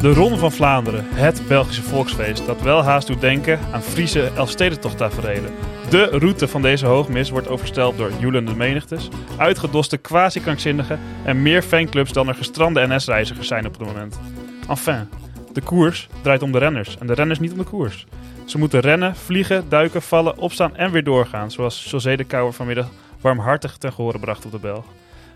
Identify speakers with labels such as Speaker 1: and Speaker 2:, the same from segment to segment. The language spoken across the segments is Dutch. Speaker 1: De Ronde van Vlaanderen, het Belgische volksfeest dat wel haast doet denken aan Friese Elfstedentochttaferelen. De route van deze hoogmis wordt oversteld door joelende menigtes, uitgedoste quasi-krankzinnigen en meer fanclubs dan er gestrande NS-reizigers zijn op het moment. Enfin, de koers draait om de renners en de renners niet om de koers. Ze moeten rennen, vliegen, duiken, vallen, opstaan en weer doorgaan, zoals José de Kouwer vanmiddag warmhartig ten gehore bracht op de Belg.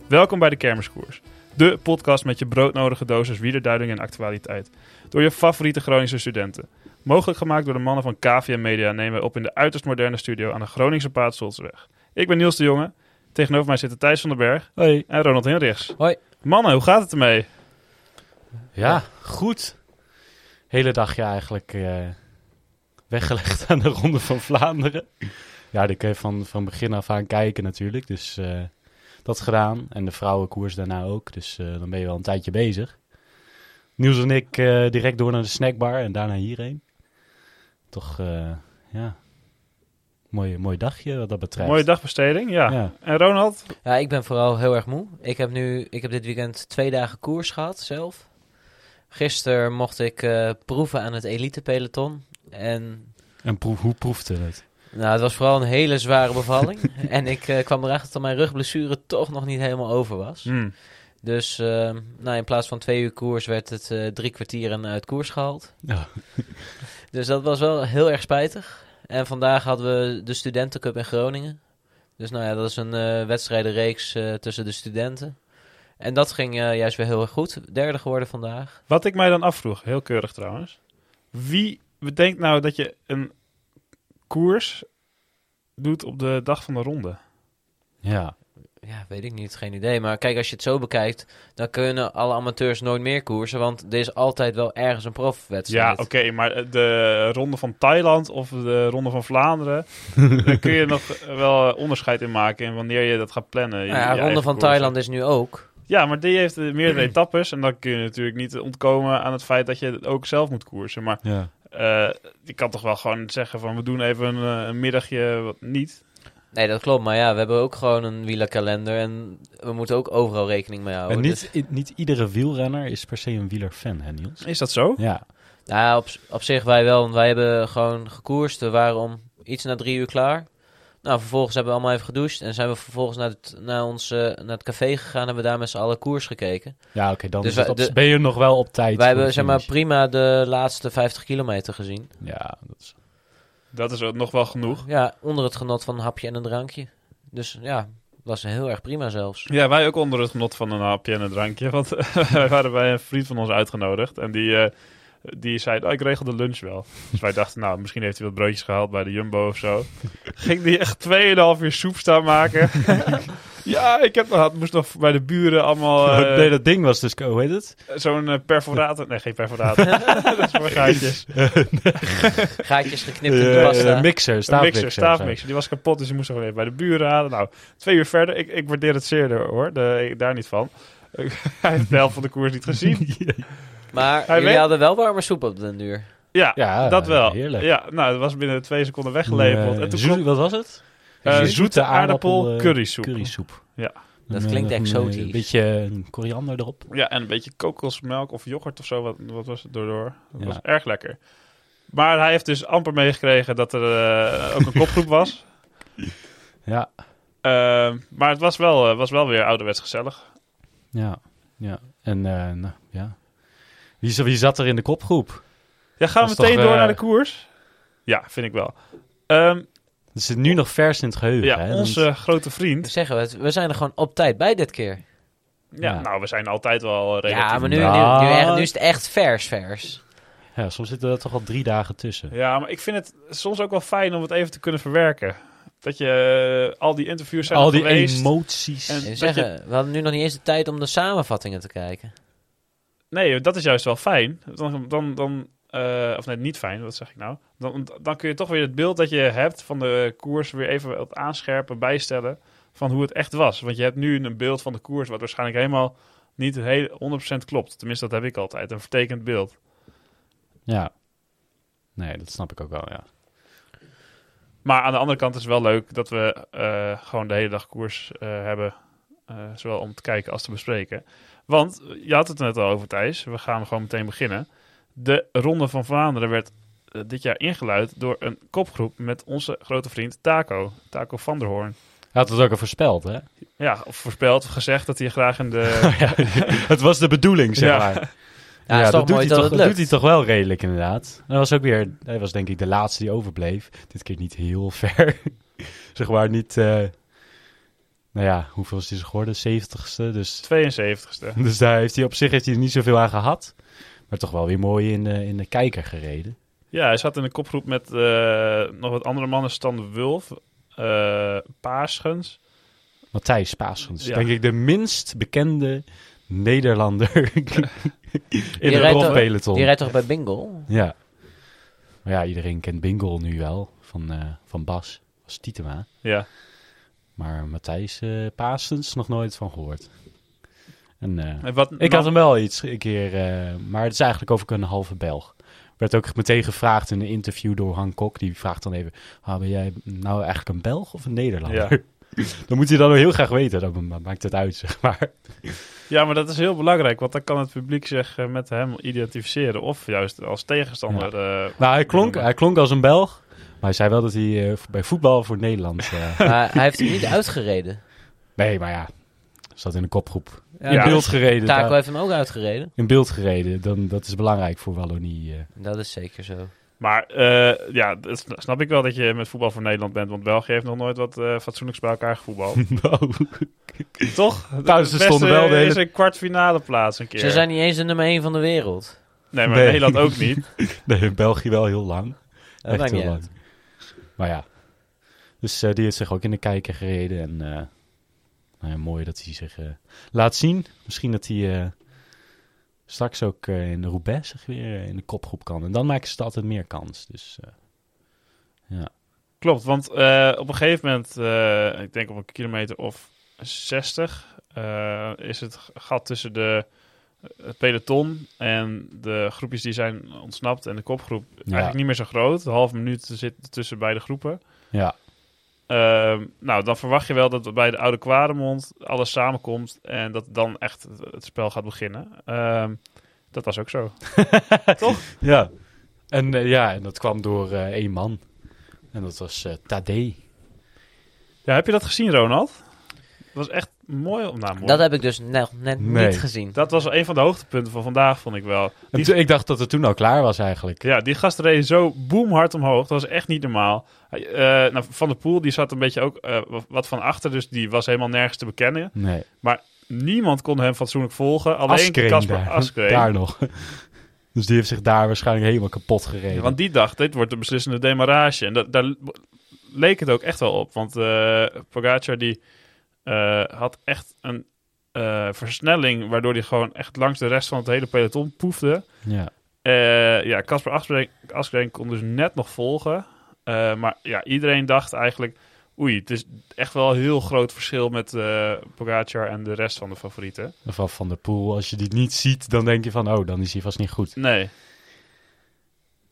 Speaker 1: Welkom bij de Kermiskoers. De podcast met je broodnodige dosis wiederduiding en actualiteit. Door je favoriete Groningse studenten. Mogelijk gemaakt door de mannen van KVM Media nemen we op in de uiterst moderne studio aan de Groningse Paatsholtsweg. Ik ben Niels de Jonge. Tegenover mij zitten Thijs van den Berg
Speaker 2: Hoi.
Speaker 1: en Ronald Hinrichs.
Speaker 2: Hoi.
Speaker 1: Mannen, hoe gaat het ermee?
Speaker 3: Ja, goed. Hele dagje eigenlijk eh, weggelegd aan de Ronde van Vlaanderen. Ja, daar kun je van, van begin af aan kijken natuurlijk. Dus eh, dat gedaan. En de vrouwenkoers daarna ook. Dus eh, dan ben je wel een tijdje bezig. Niels en ik eh, direct door naar de snackbar en daarna hierheen. Toch, eh, ja, mooi, mooi dagje wat dat betreft.
Speaker 1: Mooie dagbesteding, ja.
Speaker 3: Ja.
Speaker 1: En Ronald?
Speaker 2: Ja, ik ben vooral heel erg moe. Ik heb, nu, ik heb dit weekend twee dagen koers gehad zelf. Gisteren mocht ik eh, proeven aan het elite peloton. En
Speaker 3: En proef, hoe proefde het?
Speaker 2: nou, het was vooral een hele zware bevalling. en ik eh, kwam erachter dat mijn rugblessure toch nog niet helemaal over was.
Speaker 1: Hmm.
Speaker 2: Dus eh, nou, in plaats van twee uur koers werd het eh, drie kwartier en uit koers gehaald.
Speaker 3: Ja.
Speaker 2: Dus dat was wel heel erg spijtig. En vandaag hadden we de Studentencup in Groningen. Dus nou ja, dat is een eh, wedstrijdenreeks eh, tussen de studenten. En dat ging eh, juist weer heel erg goed. Derde geworden vandaag.
Speaker 1: Wat ik mij dan afvroeg, heel keurig trouwens. Wie bedenkt nou dat je een koers doet op de dag van de ronde?
Speaker 3: Ja,
Speaker 2: Ja, weet ik niet, geen idee. Maar kijk, als je het zo bekijkt, dan kunnen alle amateurs nooit meer koersen. Want er is altijd wel ergens een profwedstrijd.
Speaker 1: Ja, oké, maar de ronde van Thailand of de ronde van Vlaanderen, daar kun je nog wel eh, onderscheid in maken in wanneer je dat gaat plannen. Je-
Speaker 2: Nou ja,
Speaker 1: je
Speaker 2: Ronde
Speaker 1: eigen
Speaker 2: van
Speaker 1: koersen.
Speaker 2: Thailand is nu ook.
Speaker 1: Ja, maar die heeft eh, meerdere etappes en dan kun je natuurlijk niet ontkomen aan het feit dat je het ook zelf moet koersen. Maar
Speaker 3: ja.
Speaker 1: eh, je kan toch wel gewoon zeggen van we doen even een, eh, een middagje wat niet.
Speaker 2: Nee, dat klopt. Maar ja, we hebben ook gewoon een wielerkalender. En we moeten ook overal rekening mee houden.
Speaker 3: en
Speaker 2: Dus,
Speaker 3: niet, i- niet iedere wielrenner is per se een wielerfan, hè Niels?
Speaker 1: Is dat zo?
Speaker 3: Ja,
Speaker 2: nou ja, op, op zich wij wel. Want wij hebben gewoon gekoerst. We waren om iets na drie uur klaar. Nou, vervolgens hebben we allemaal even gedoucht. En zijn we vervolgens naar het, naar ons, eh, naar het café gegaan. Hebben we daar met z'n allen koers gekeken.
Speaker 3: ja oké, dan
Speaker 2: Dus
Speaker 3: is het
Speaker 2: wij-
Speaker 3: op-
Speaker 2: de-
Speaker 3: ben je nog wel op tijd.
Speaker 2: wij hebben
Speaker 3: voor de
Speaker 2: zeg maar
Speaker 3: finish.
Speaker 2: prima de laatste 50 kilometer gezien.
Speaker 3: Ja, dat is...
Speaker 1: Dat is ook nog wel genoeg.
Speaker 2: Ja, onder het genot van een hapje en een drankje. Dus ja, was heel erg prima zelfs.
Speaker 1: Ja, wij ook onder het genot van een hapje en een drankje. Want wij waren bij een vriend van ons uitgenodigd. En die, eh, die zei, oh, ik regel de lunch wel. Dus wij dachten, nou, misschien heeft hij wat broodjes gehaald bij de Jumbo of zo. Ging die echt 2,5 uur soep staan maken. ja, ik heb, had, moest nog bij de buren allemaal eh,
Speaker 3: nee, dat ding was dus, hoe heet het?
Speaker 1: zo'n eh, perforator... Nee, geen perforator. dat is voor gaatjes.
Speaker 2: Gaatjes geknipt in de
Speaker 3: Eh,
Speaker 2: pasta.
Speaker 3: eh, mixer,
Speaker 1: Een
Speaker 3: staafmixer.
Speaker 1: mixer,
Speaker 3: of zo.
Speaker 1: staafmixer. Die was kapot, dus die moest gewoon even bij de buren halen. Nou, twee uur verder. Ik, ik waardeer het zeer hoor. De, ik- daar niet van. Hij heeft de helft van de koers niet gezien.
Speaker 2: Maar
Speaker 1: Hij
Speaker 2: jullie
Speaker 1: weet-
Speaker 2: hadden wel warme soep op den duur.
Speaker 1: Ja,
Speaker 3: Ja,
Speaker 1: dat wel.
Speaker 3: Ah, heerlijk.
Speaker 1: Ja, nou, dat was binnen twee seconden weggelabeld.
Speaker 3: Eh,
Speaker 1: en toen
Speaker 3: zoe-
Speaker 1: kwam
Speaker 3: Wat was het?
Speaker 1: eh,
Speaker 3: zoete
Speaker 1: zoete aardappel,
Speaker 3: aardappel, eh,
Speaker 1: currysoep.
Speaker 3: Currysoep.
Speaker 1: Ja.
Speaker 2: Dat
Speaker 3: Een,
Speaker 2: klinkt
Speaker 3: eh,
Speaker 2: exotisch.
Speaker 3: Een beetje een koriander erop.
Speaker 1: Ja, en een beetje kokosmelk of yoghurt of zo. Wat, wat was het door? Dat
Speaker 3: Ja.
Speaker 1: was erg lekker. Maar hij heeft dus amper meegekregen dat er eh, ook een kopgroep was.
Speaker 3: Ja,
Speaker 1: Ehm, maar het was wel, eh, was wel weer ouderwets gezellig.
Speaker 3: ja, ja. En, eh, nou, ja. Wie, z- wie zat er in de kopgroep?
Speaker 1: Ja, gaan we
Speaker 3: Dat is
Speaker 1: meteen
Speaker 3: toch,
Speaker 1: door
Speaker 3: eh,
Speaker 1: naar de koers? Ja, vind ik wel. Ehm,
Speaker 3: Dat zit nu nog vers in het geheugen.
Speaker 1: ja,
Speaker 3: hè?
Speaker 1: onze grote vriend.
Speaker 2: Zeggen we het, we zijn er gewoon op tijd bij dit keer.
Speaker 1: Ja,
Speaker 3: Ja.
Speaker 1: nou, we zijn altijd wel relatief...
Speaker 2: ja, maar nu, nu,
Speaker 3: Nou.
Speaker 2: nu echt- nu is het echt vers, vers.
Speaker 3: Ja, soms zitten er toch al drie dagen tussen.
Speaker 1: Ja, maar ik vind het soms ook wel fijn om het even te kunnen verwerken. Dat je eh, al die interviews zijn
Speaker 3: Al
Speaker 1: er
Speaker 3: die
Speaker 1: geweest.
Speaker 3: emoties.
Speaker 1: En-
Speaker 2: Ik
Speaker 1: Dat
Speaker 2: zeggen, we hadden nu nog niet eens de tijd om de samenvattingen te kijken.
Speaker 1: Nee, dat is juist wel fijn. Dan, dan, dan eh, of nee, niet fijn, wat zeg ik nou? Dan, dan kun je toch weer het beeld dat je hebt van de koers weer even wat aanscherpen, bijstellen van hoe het echt was. Want je hebt nu een beeld van de koers wat waarschijnlijk helemaal niet heel 100% klopt. Tenminste, dat heb ik altijd. Een vertekend beeld.
Speaker 3: Ja. Nee, dat snap ik ook wel, ja.
Speaker 1: Maar aan de andere kant is het wel leuk dat we eh, gewoon de hele dag koers eh, hebben. eh, zowel om te kijken als te bespreken. Want je had het er net al over, Thijs. We gaan gewoon meteen beginnen. De Ronde van Vlaanderen werd eh, dit jaar ingeluid door een kopgroep met onze grote vriend Taco. Taco van der Hoorn.
Speaker 3: Hij had het ook al voorspeld, hè?
Speaker 1: Ja, of voorspeld, of gezegd dat hij graag in de...
Speaker 3: ja, het was de bedoeling, zeg
Speaker 1: Ja.
Speaker 3: maar.
Speaker 2: Ja, is toch
Speaker 3: doet
Speaker 2: mooi
Speaker 3: hij
Speaker 2: dat
Speaker 3: toch,
Speaker 2: het
Speaker 3: dat
Speaker 2: lukt.
Speaker 3: doet hij toch wel redelijk, inderdaad. Hij was ook weer, hij was denk ik de laatste die overbleef. Dit keer niet heel ver. zeg maar niet, eh, nou ja, hoeveel is hij geworden? 70ste. Dus,
Speaker 1: 72ste.
Speaker 3: dus daar heeft hij op zich heeft hij er niet zoveel aan gehad. Maar toch wel weer mooi in, de- in de kijker gereden.
Speaker 1: Ja, hij zat in een kopgroep met eh, nog wat andere mannen. Stan Wulf, eh Paasgens.
Speaker 3: Matthijs Paasgens,
Speaker 1: Ja.
Speaker 3: denk ik de minst bekende Nederlander in
Speaker 2: rijdt
Speaker 3: de
Speaker 2: al-
Speaker 3: rolpeloton.
Speaker 2: Die rijdt toch bij Bingo?
Speaker 3: Ja. Maar ja, iedereen kent Bingle nu wel. Van, eh, van Bas. Als Tietema.
Speaker 1: Ja,
Speaker 3: Maar Matthijs eh Paasens nog nooit van gehoord. En, eh,
Speaker 1: en wat,
Speaker 3: ik had hem wel iets een keer. eh, maar het is eigenlijk over een halve Belg. Werd ook meteen gevraagd in een interview door Han Kok. Die vraagt dan even: ah, ben jij nou eigenlijk een Belg of een Nederlander? Dan moet hij dan ook heel graag weten. Dan ma- maakt het uit, zeg maar.
Speaker 1: Ja, maar dat is heel belangrijk, want dan kan het publiek zich eh, met hem identificeren. Of juist als tegenstander. eh,
Speaker 3: Nou, hij klonk, hij klonk als een Belg. Maar hij zei wel dat hij eh, bij voetbal voor Nederland. eh,
Speaker 2: Maar hij heeft hem niet uitgereden.
Speaker 3: nee, maar ja. Zat in een kopgroep.
Speaker 2: Ja,
Speaker 3: in
Speaker 1: Ja.
Speaker 3: beeld gereden.
Speaker 2: Taco
Speaker 3: daar-
Speaker 2: heeft hem ook uitgereden.
Speaker 3: in beeld gereden. Dan, dat is belangrijk voor Wallonie. eh.
Speaker 2: Dat is zeker zo.
Speaker 1: maar eh, ja, dat sn- snap ik wel dat je met voetbal voor Nederland bent. Want België heeft nog nooit wat eh, fatsoenlijks bij elkaar gevoetbald.
Speaker 2: Nou,
Speaker 1: Toch?
Speaker 3: Nou, ze
Speaker 1: Het beste
Speaker 3: stonden wel de hele-
Speaker 1: is een kwartfinale plaats een keer.
Speaker 2: Ze zijn niet eens de nummer 1 van de wereld.
Speaker 1: Nee, maar
Speaker 3: Nee.
Speaker 1: Nederland ook niet.
Speaker 3: Nee, in België wel heel lang.
Speaker 2: Dat
Speaker 3: Echt
Speaker 2: maakt
Speaker 3: heel
Speaker 2: niet uit.
Speaker 3: lang. Maar ja. Dus eh, die heeft zich ook in de kijker gereden. En eh, nou ja, mooi dat hij zich eh, laat zien. Misschien dat hij eh, straks ook eh, in de Roubaix zich weer eh, in de kopgroep kan. En dan maken ze er altijd meer kans. Dus eh,
Speaker 1: Klopt, want eh, op een gegeven moment, eh, ik denk op een kilometer of 60, eh, is het gat tussen de, het peloton en de groepjes die zijn ontsnapt en de kopgroep eigenlijk niet meer zo groot. Een half minuut zit tussen beide groepen.
Speaker 3: ja.
Speaker 1: Ehm, nou, dan verwacht je wel dat bij de Oude Kwaremond alles samenkomt en dat dan echt het spel gaat beginnen. Ehm, dat was ook zo.
Speaker 3: Ja. En eh, ja, en dat kwam door eh, één man. En dat was eh Tadej.
Speaker 1: Ja, heb je dat gezien, Ronald? Dat was echt mooi. om- Nou, mooi.
Speaker 2: Dat heb ik dus nog net
Speaker 3: Nee.
Speaker 2: niet gezien.
Speaker 1: Dat was een van de hoogtepunten van vandaag, vond ik wel.
Speaker 3: En
Speaker 1: Die-
Speaker 3: toen- ik dacht dat het toen al klaar was eigenlijk.
Speaker 1: Ja, die gast reed zo boomhard omhoog. Dat was echt niet normaal. Hij, eh, nou, van der Poel die zat een beetje ook eh, wa- wat van achter. Dus die was helemaal nergens te bekennen.
Speaker 3: Nee.
Speaker 1: Niemand kon hem fatsoenlijk volgen. Alleen
Speaker 3: Askreen
Speaker 1: Casper
Speaker 3: daar.
Speaker 1: Askreen.
Speaker 3: Daar nog. Dus die heeft zich daar waarschijnlijk helemaal kapot gereden.
Speaker 1: Want die dacht, dit wordt de beslissende demarrage. En dat, daar l- leek het ook echt wel op. Want eh Pogacar die eh, had echt een eh, versnelling... waardoor hij gewoon echt langs de rest van het hele peloton poefde.
Speaker 3: ja.
Speaker 1: Eh, ja, Casper Askreen- Askreen kon dus net nog volgen. Eh, maar ja, iedereen dacht eigenlijk... Oei, het is echt wel een heel groot verschil met eh Pogacar en de rest van de favorieten.
Speaker 3: Van Van der Poel, als je die niet ziet, dan denk je van... oh, dan is hij vast niet goed.
Speaker 1: Nee,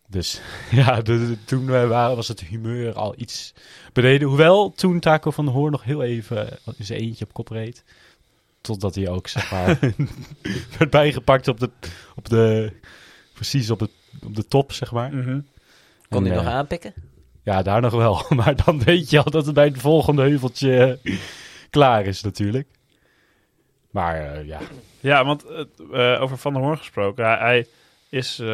Speaker 3: Dus ja, de, de- toen wij waren was het humeur al iets beneden. Hoewel toen Taco van der Hoorn nog heel even in zijn eentje op kop reed. Totdat hij ook, zeg maar, werd bijgepakt op de... Op de precies op, het, op de top, zeg maar.
Speaker 1: Mhm.
Speaker 2: Kon hij
Speaker 3: En,
Speaker 2: nog
Speaker 3: eh,
Speaker 2: aanpikken?
Speaker 3: Ja, daar nog wel. Maar dan weet je al dat het bij het volgende heuveltje eh, klaar is natuurlijk. Maar eh, ja,
Speaker 1: ja, want het, eh, over Van der Hoorn gesproken. Hij, hij is eh,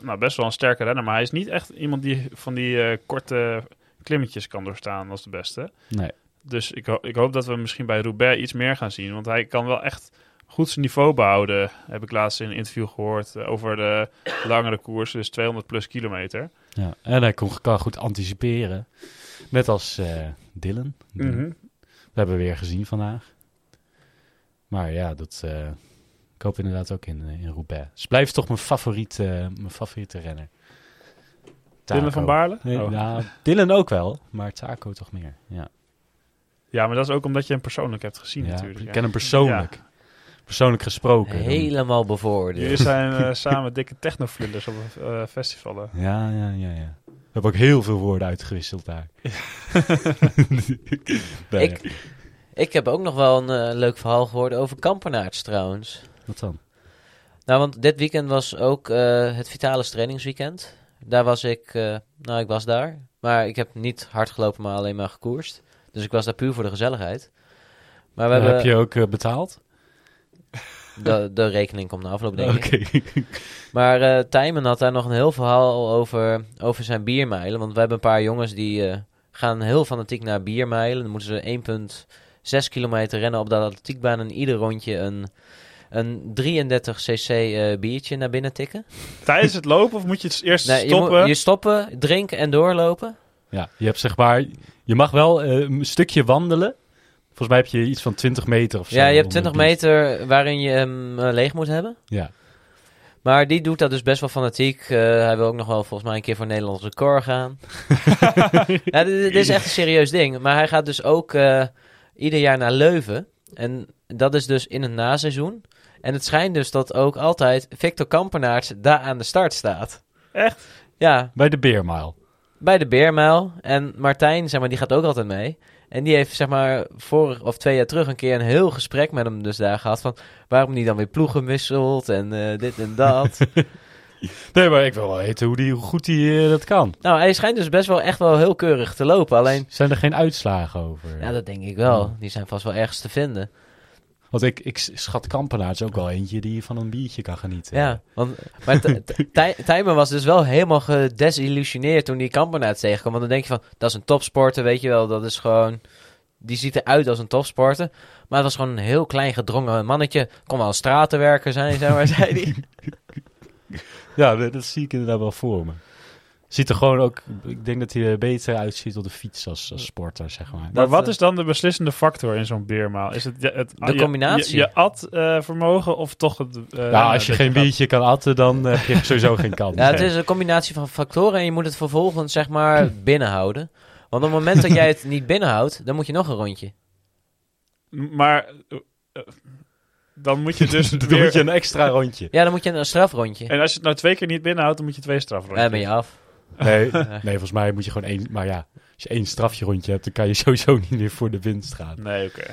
Speaker 1: nou, best wel een sterke renner, maar hij is niet echt iemand die van die eh, korte klimmetjes kan doorstaan als de beste.
Speaker 3: nee.
Speaker 1: Dus ik, ho- ik hoop dat we misschien bij Roubaix iets meer gaan zien. Want hij kan wel echt goed zijn niveau behouden. Heb ik laatst in een interview gehoord eh, over de langere koers. Dus 200 plus kilometer.
Speaker 3: Ja. En hij kon, kan goed anticiperen. Net als eh Dylan.
Speaker 1: Mhm.
Speaker 3: Dat hebben we weer gezien vandaag. Maar ja, dat, eh, ik hoop inderdaad ook in, eh, in Roubaix. Dus blijft toch mijn favoriete, mijn favoriete renner.
Speaker 1: Dylan
Speaker 3: Taco.
Speaker 1: van Baarle?
Speaker 3: Nee,
Speaker 1: Oh.
Speaker 3: ja, Dylan ook wel, maar Taco toch meer. Ja,
Speaker 1: Ja, maar dat is ook omdat je hem persoonlijk hebt gezien
Speaker 3: Ja,
Speaker 1: natuurlijk.
Speaker 3: Ik
Speaker 1: ja.
Speaker 3: ken hem persoonlijk. persoonlijk gesproken. dan-
Speaker 2: Helemaal bevooroordeeld.
Speaker 1: Jullie zijn eh, samen dikke technoflinders op eh, festivalen.
Speaker 3: Ja, ja, ja, ja. We hebben ook heel veel woorden uitgewisseld daar. Nee,
Speaker 2: Ik- Ik heb ook nog wel een eh, leuk verhaal gehoord over kampenaards trouwens.
Speaker 3: Wat dan?
Speaker 2: Nou, want dit weekend was ook eh, het Vitalis trainingsweekend. Daar was ik, eh, nou ik was daar, maar ik heb niet hard gelopen, maar alleen maar gekoerst. Dus ik was daar puur voor de gezelligheid. Maar we hebben,
Speaker 3: Heb je ook eh, betaald?
Speaker 2: de, de rekening komt na afloop denk ik.
Speaker 3: Oké.
Speaker 2: Maar eh Tijmen had daar nog een heel verhaal over, over zijn biermijlen. Want we hebben een paar jongens die eh, gaan heel fanatiek naar biermijlen. Dan moeten ze 1,6 kilometer rennen op de atletiekbaan. En ieder rondje een, een 33 cc eh, biertje naar binnen tikken.
Speaker 1: Tijdens het lopen of moet je het eerst
Speaker 2: Nee, je moet-
Speaker 1: stoppen?
Speaker 2: Je, stoppen, drinken en doorlopen.
Speaker 3: Ja, je hebt zeg maar... Je mag wel eh, een stukje wandelen. Volgens mij heb je iets van 20 meter of zo.
Speaker 2: ja, je hebt 20
Speaker 3: onder de bus.
Speaker 2: meter waarin je hem eh, leeg moet hebben.
Speaker 3: Ja.
Speaker 2: Maar die doet dat dus best wel fanatiek. Eh, hij wil ook nog wel volgens mij een keer voor een Nederlands record gaan. ja, dit, dit is echt een serieus ding. Maar hij gaat dus ook eh, ieder jaar naar Leuven. En dat is dus in het naseizoen. En het schijnt dus dat ook altijd Victor Kampenaerts daar aan de start staat.
Speaker 1: Echt?
Speaker 2: Ja,
Speaker 3: Bij de Beermaal.
Speaker 2: bij de Beermijl. En Martijn, zeg maar, die gaat ook altijd mee. En die heeft, zeg maar, vorig of twee jaar terug een keer een heel gesprek met hem dus daar gehad. Van, waarom die dan weer ploegen wisselt en eh, dit en dat.
Speaker 3: Nee, maar ik wil wel weten hoe, die, hoe goed hij dat kan.
Speaker 2: nou, hij schijnt dus best wel echt wel heel keurig te lopen. Alleen,
Speaker 3: Zijn er geen uitslagen over?
Speaker 2: ja, dat denk ik wel. Die zijn vast wel ergens te vinden.
Speaker 3: Want ik, ik schat Kampenaars ook wel eentje die van een biertje kan genieten.
Speaker 2: Ja, want, maar T- T- Tij- Tijmen was dus wel helemaal gedesillusioneerd toen die kampenaat tegenkwam. Want dan denk je van, dat is een topsporter, weet je wel. Dat is gewoon, die ziet eruit als een topsporter. Maar het was gewoon een heel klein gedrongen mannetje. Kon wel een stratenwerker zijn, zeg maar, zei hij.
Speaker 3: Ja, dat dat zie ik inderdaad wel voor me. Ziet er gewoon ook... Ik denk dat hij er beter uitziet op de fiets als, als sporter, zeg maar.
Speaker 1: Maar
Speaker 2: Dat,
Speaker 1: wat
Speaker 2: eh,
Speaker 1: is dan de beslissende factor in zo'n beermaal? Is het, ja, het
Speaker 2: De
Speaker 1: je-
Speaker 2: combinatie.
Speaker 1: Je, je at-vermogen of toch het... eh,
Speaker 3: nou, als je
Speaker 1: dat
Speaker 3: geen
Speaker 1: gaat-
Speaker 3: biertje kan atten, dan heb je sowieso geen kans.
Speaker 2: Ja, het is een combinatie van factoren en je moet het vervolgens, zeg maar, binnenhouden. Want op het moment dat jij het niet binnenhoudt, dan moet je nog een rondje.
Speaker 1: Maar eh, eh, dan moet je dus
Speaker 3: Dan
Speaker 1: weer-
Speaker 3: moet je een extra rondje.
Speaker 2: Ja, dan moet je een strafrondje.
Speaker 1: En als je het nou twee keer niet binnenhoudt, dan moet je twee strafrondjes.
Speaker 2: Dan ben je af.
Speaker 3: Nee, nee, volgens mij moet je gewoon één... Maar ja, als je één strafje rondje hebt, dan kan je sowieso niet meer voor de winst gaan.
Speaker 1: Nee, oké.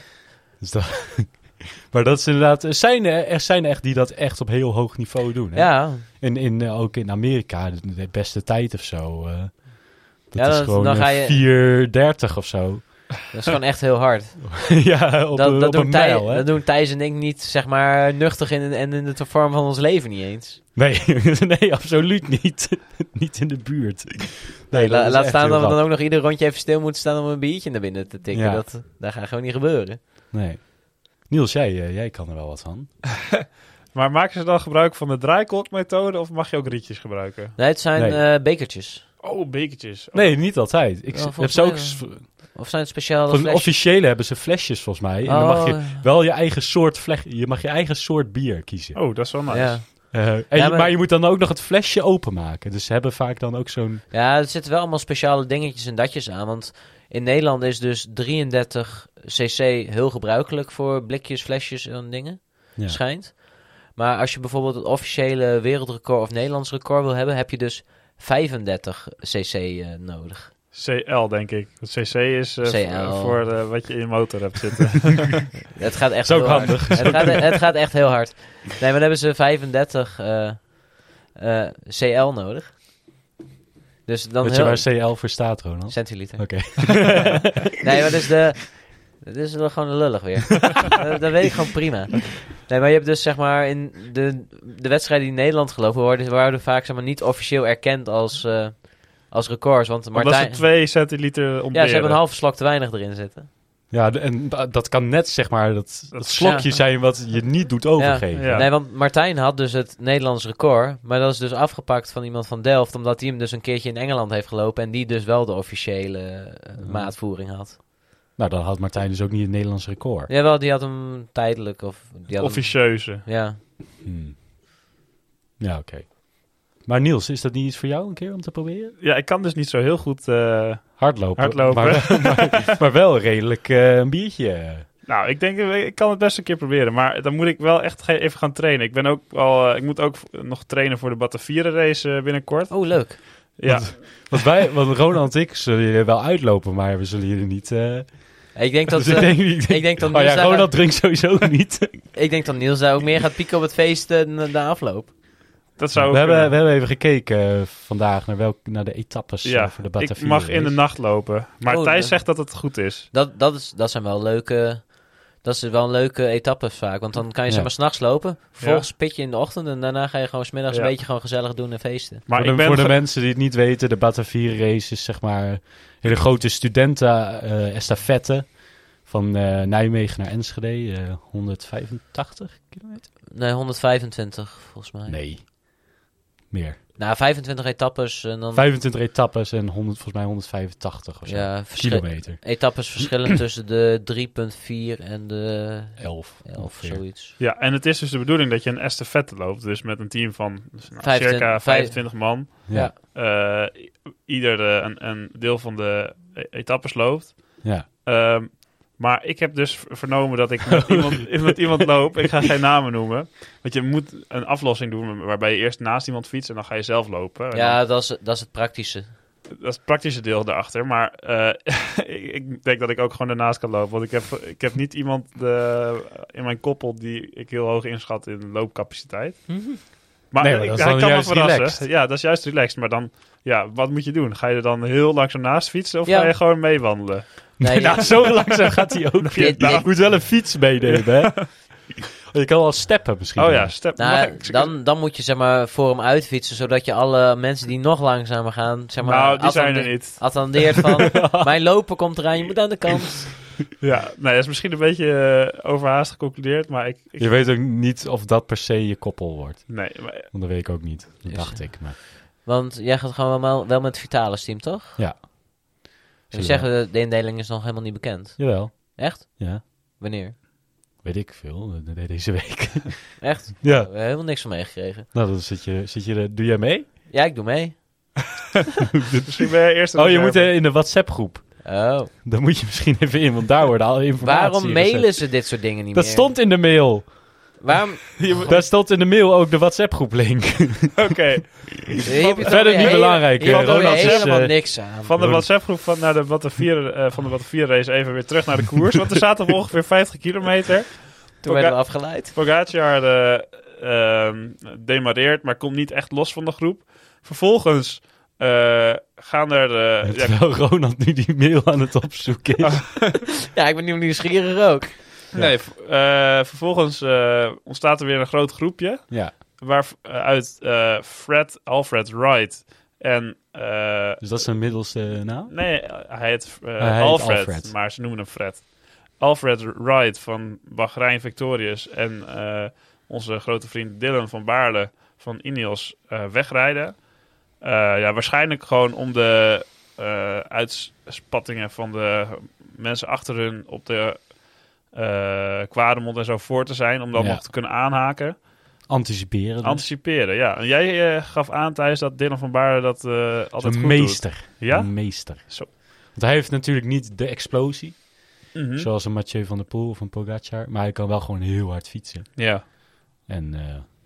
Speaker 3: Dus dat, maar dat is inderdaad... Er zijn er, er zijn echt die dat echt op heel hoog niveau doen. Hè?
Speaker 2: Ja,
Speaker 3: En in, eh, ook in Amerika, de, de beste tijd of zo. eh, dat
Speaker 2: Ja,
Speaker 3: is
Speaker 2: dan-
Speaker 3: gewoon
Speaker 2: dan ga
Speaker 3: eh,
Speaker 2: je-
Speaker 3: 4,30 of zo.
Speaker 2: dat is gewoon echt heel hard.
Speaker 3: ja, op,
Speaker 2: dat,
Speaker 3: een-
Speaker 2: dat,
Speaker 3: op
Speaker 2: doen
Speaker 3: een
Speaker 2: Thij-
Speaker 3: mijl, hè?
Speaker 2: dat doen Thijs en ik niet, zeg maar, nuchtig in, en in de vorm van ons leven niet eens.
Speaker 3: Nee, nee, absoluut niet. niet in de buurt. Nee, dat
Speaker 2: La-
Speaker 3: is
Speaker 2: laat
Speaker 3: echt
Speaker 2: staan
Speaker 3: heel
Speaker 2: dat we dan
Speaker 3: rap.
Speaker 2: ook nog ieder rondje even stil moeten staan om een biertje naar binnen te tikken.
Speaker 3: Ja.
Speaker 2: Dat, dat gaat gewoon niet gebeuren.
Speaker 3: Nee. Niels, jij, eh, jij kan er wel wat van.
Speaker 2: Oh.
Speaker 1: Maar maken ze dan gebruik van de draaikolkmethode of mag je ook rietjes gebruiken?
Speaker 2: Nee, het zijn
Speaker 3: Nee.
Speaker 2: eh, bekertjes.
Speaker 1: Oh, bekertjes. Oh,
Speaker 3: Nee, niet altijd. Ik
Speaker 2: Ja,
Speaker 3: s- heb
Speaker 2: volgens
Speaker 3: ze
Speaker 2: mij
Speaker 3: ook...
Speaker 2: wel.
Speaker 3: s-
Speaker 2: Of zijn het speciale
Speaker 3: Van de
Speaker 2: flesjes?
Speaker 3: officiële hebben ze flesjes volgens mij. En dan mag je
Speaker 2: Oh,
Speaker 3: wel je eigen soort vleg, je mag je eigen soort bier kiezen.
Speaker 1: Oh, dat is wel nice.
Speaker 2: ja.
Speaker 3: Eh, en
Speaker 2: Ja,
Speaker 3: je-
Speaker 2: maar-
Speaker 3: maar je moet dan ook nog het flesje openmaken. Dus ze hebben vaak dan ook zo'n
Speaker 2: ja, er zitten wel allemaal speciale dingetjes en datjes aan. Want in Nederland is dus 33 cc heel gebruikelijk voor blikjes, flesjes en dingen.
Speaker 3: Ja.
Speaker 2: schijnt. Maar als je bijvoorbeeld het officiële wereldrecord of Nederlands record wil hebben, heb je dus 35 cc eh, nodig.
Speaker 1: CL, denk ik. Want CC is eh,
Speaker 2: CL.
Speaker 1: voor- voor eh, wat je in je motor hebt zitten.
Speaker 2: Het gaat echt
Speaker 3: Is ook
Speaker 2: heel
Speaker 3: handig.
Speaker 2: hard. Het gaat, het gaat echt heel hard. Nee, maar dan hebben ze 35 eh, eh, CL nodig. Dus dan
Speaker 3: Weet je
Speaker 2: heel...
Speaker 3: waar CL voor staat, Ronald?
Speaker 2: Centiliter.
Speaker 3: Oké.
Speaker 2: Nee, maar dat is de... Dat is wel gewoon lullig weer. dat, dat weet ik gewoon prima. Nee, maar je hebt dus zeg maar in de, de wedstrijden die in Nederland gelopen worden, worden vaak zeg maar niet officieel erkend als, eh, als records. Want
Speaker 1: Omdat ze
Speaker 2: Martijn...
Speaker 1: twee centiliter ontberen.
Speaker 2: Ja, ze hebben een halve slok te weinig erin zitten.
Speaker 3: Ja, de- en da- dat kan net zeg maar dat, dat slokje
Speaker 2: ja.
Speaker 3: zijn wat je niet doet overgeven.
Speaker 1: Ja.
Speaker 2: Nee, want Martijn had dus het Nederlands record. Maar dat is dus afgepakt van iemand van Delft. Omdat hij hem dus een keertje in Engeland heeft gelopen. En die dus wel de officiële eh,
Speaker 3: Ja.
Speaker 2: maatvoering had.
Speaker 3: Nou, dan had Martijn dus ook niet het Nederlands record.
Speaker 2: Jawel, die had hem tijdelijk. Of, die had hem-
Speaker 1: Officieuze.
Speaker 2: ja.
Speaker 3: Hmm. Ja, oké. Maar Niels, is dat niet iets voor jou een keer om te proberen?
Speaker 1: Ja, ik kan dus niet zo heel goed... eh,
Speaker 3: Hardlopen.
Speaker 1: Hardlopen.
Speaker 3: Maar, maar, maar wel redelijk eh, een biertje.
Speaker 1: Nou, ik denk, eh, ik kan het best een keer proberen. Maar dan moet ik wel echt ge- even gaan trainen. Ik, ben ook al, eh, ik moet ook v- nog trainen voor de Batavieren race eh, binnenkort.
Speaker 2: Oh, leuk.
Speaker 1: Ja,
Speaker 3: Want, want wij, want Ronald en ik zullen jullie wel uitlopen, maar we zullen jullie niet... eh,
Speaker 2: Ik denk dat,
Speaker 3: dus ik
Speaker 2: eh,
Speaker 3: denk, ik denk,
Speaker 2: ik denk dat
Speaker 3: oh
Speaker 2: Niels
Speaker 3: ja,
Speaker 2: daar-
Speaker 3: Ronald drinkt sowieso niet.
Speaker 2: ik denk dat Niels daar ook meer gaat pieken op het feest eh, na de afloop.
Speaker 1: dat
Speaker 3: we,
Speaker 1: zou ook
Speaker 3: hebben,
Speaker 1: kunnen.
Speaker 3: we hebben even gekeken eh, vandaag naar, welk, naar de etappes eh,
Speaker 1: ja,
Speaker 3: voor de
Speaker 1: ik
Speaker 3: Batavia.
Speaker 1: mag in de
Speaker 3: race.
Speaker 1: nacht lopen. Maar
Speaker 2: Oh,
Speaker 1: Thijs
Speaker 2: ja.
Speaker 1: zegt dat het goed is.
Speaker 2: Dat, dat, is, dat zijn wel leuke... Dat is wel een leuke etappe vaak. Want dan kan je
Speaker 3: Ja.
Speaker 2: zeg maar s'nachts lopen. Vervolgens pit je in de ochtend. En daarna ga je gewoon smiddags
Speaker 1: Ja.
Speaker 2: een beetje gewoon gezellig doen en feesten.
Speaker 1: Maar
Speaker 3: voor de,
Speaker 1: ik ben
Speaker 3: voor de
Speaker 1: ge-
Speaker 3: mensen die het niet weten, de Batavia race is zeg maar een hele grote studenten eh estafette van eh, Nijmegen naar Enschede, eh, 185 kilometer?
Speaker 2: Nee, 125 volgens mij.
Speaker 3: Nee, meer.
Speaker 2: Nou, 25 etappes en dan...
Speaker 3: 25 etappes en 100, volgens mij 185 of zo.
Speaker 2: ja, verschil-
Speaker 3: kilometer.
Speaker 2: Etappes verschillen tussen de 3.4 en de
Speaker 3: 11.
Speaker 2: 11 of
Speaker 3: ongeveer.
Speaker 2: zoiets.
Speaker 1: Ja, en het is dus de bedoeling dat je een estafette loopt. Dus met een team van dus, nou,
Speaker 2: 25
Speaker 1: circa
Speaker 2: vijf-
Speaker 1: 25 man.
Speaker 3: Ja.
Speaker 1: eh, i- ieder eh, een, een deel van de e- etappes loopt.
Speaker 3: ja.
Speaker 1: Ehm, maar ik heb dus v- vernomen dat ik met iemand, met iemand loop. Ik ga geen namen noemen. Want je moet een aflossing doen waarbij je eerst naast iemand fietst en dan ga je zelf lopen. En
Speaker 2: Ja, dat is, dat is het praktische.
Speaker 1: dan- dat is het praktische deel daarachter. Maar eh, ik, ik denk dat ik ook gewoon ernaast kan lopen. Want ik heb, ik heb niet iemand eh, in mijn koppel die ik heel hoog inschat in loopcapaciteit. Maar,
Speaker 3: Nee, maar
Speaker 1: ik,
Speaker 3: dat is
Speaker 1: hij
Speaker 3: dan
Speaker 1: kan me
Speaker 3: juist
Speaker 1: verrassen.
Speaker 3: relaxed.
Speaker 1: Ja, dat is juist relaxed. Maar dan, ja, wat moet je doen? Ga je er dan heel langzaam naast fietsen of
Speaker 2: Ja.
Speaker 1: ga je gewoon meewandelen?
Speaker 2: Nee,
Speaker 3: nou, zo langzaam gaat hij
Speaker 2: Dit-
Speaker 3: ook niet. Je
Speaker 2: dit-
Speaker 3: moet wel een fiets meenemen, hè? Je kan wel steppen misschien.
Speaker 1: Oh ja, step.
Speaker 2: nou,
Speaker 1: mag ik-
Speaker 2: dan, dan moet je zeg maar voor hem uitfietsen, zodat je alle mensen die nog langzamer gaan, zeg maar,
Speaker 1: nou, die zijn er
Speaker 2: attende-
Speaker 1: niet.
Speaker 2: attendeert van, mijn lopen komt eraan, je moet aan de kant.
Speaker 1: Ja, nee, dat is misschien een beetje eh, overhaast geconcludeerd, maar ik... ik
Speaker 3: Je weet ook niet of dat per se je koppel wordt.
Speaker 1: nee, maar,
Speaker 3: Want dat weet ik ook niet. Dat
Speaker 2: Is-
Speaker 3: dacht ik. Maar
Speaker 2: Want jij gaat gewoon wel, wel met het Vitalis team, toch?
Speaker 3: ja.
Speaker 2: Ik zeggen, de indeling is nog helemaal niet bekend.
Speaker 3: Jawel.
Speaker 2: Echt?
Speaker 3: Ja.
Speaker 2: Wanneer?
Speaker 3: Weet ik veel. eh, de- Deze week.
Speaker 2: Echt? We
Speaker 3: ja.
Speaker 2: hebben helemaal niks van meegekregen.
Speaker 3: Nou, dan zit je, zit je er- Doe jij mee?
Speaker 2: Ja, ik doe mee.
Speaker 1: misschien ben je eerst...
Speaker 3: Oh, je moet eh, in de WhatsApp-groep.
Speaker 2: Oh.
Speaker 3: Dan moet je misschien even in, want daar worden alle informatie.
Speaker 2: Waarom
Speaker 3: gezet.
Speaker 2: mailen ze dit soort dingen niet
Speaker 3: Dat
Speaker 2: meer?
Speaker 3: stond in de mail.
Speaker 2: Waarom?
Speaker 3: Daar stond in de mail ook de WhatsApp-groep-link.
Speaker 1: Oké,
Speaker 3: Verder niet belangrijk,
Speaker 2: Je hebt er
Speaker 1: Ronald
Speaker 2: weer
Speaker 1: zegt,
Speaker 2: helemaal
Speaker 3: eh,
Speaker 2: niks aan.
Speaker 1: van de WhatsApp-groep van, naar de Batavier, eh van de Batavier race even weer terug naar de koers, want er zaten nog ongeveer 50 kilometer.
Speaker 2: Toen werden we afgeleid.
Speaker 1: Pogacar eh, ehm, demareert, maar komt niet echt los van de groep. Vervolgens eh, gaan er... eh, ja,
Speaker 3: Terwijl Ronald nu die mail aan het opzoeken is.
Speaker 2: Ja, ik ben nu nieuwsgierig ook.
Speaker 1: nee, v- eh, vervolgens eh, ontstaat er weer een groot groepje.
Speaker 3: Ja,
Speaker 1: waaruit eh, Fred Alfred Wright en... eh,
Speaker 3: dus dat is een middelste naam.
Speaker 1: nee, hij heet, eh,
Speaker 3: hij heet
Speaker 1: Alfred,
Speaker 3: Alfred.
Speaker 1: maar ze noemen hem Fred. Alfred Wright van Bahrein Victorious en eh, onze grote vriend Dylan van Baarle van Ineos eh, wegrijden. Eh, ja, waarschijnlijk gewoon om de eh, uitspattingen van de mensen achter hun op de eh kwademond en zo voor te zijn. Om dan
Speaker 3: Ja.
Speaker 1: nog te kunnen aanhaken.
Speaker 3: Anticiperen. dus.
Speaker 1: Anticiperen, ja. En jij eh, gaf aan, Thijs, dat Dylan van Baarle dat eh, altijd
Speaker 3: een
Speaker 1: goed
Speaker 3: meester.
Speaker 1: doet. Ja?
Speaker 3: Een meester.
Speaker 1: Zo.
Speaker 3: Want hij heeft natuurlijk niet de explosie,
Speaker 1: Mhm.
Speaker 3: zoals een Mathieu van der Poel of een Pogacar. Maar hij kan wel gewoon heel hard fietsen.
Speaker 1: Ja.
Speaker 3: En eh,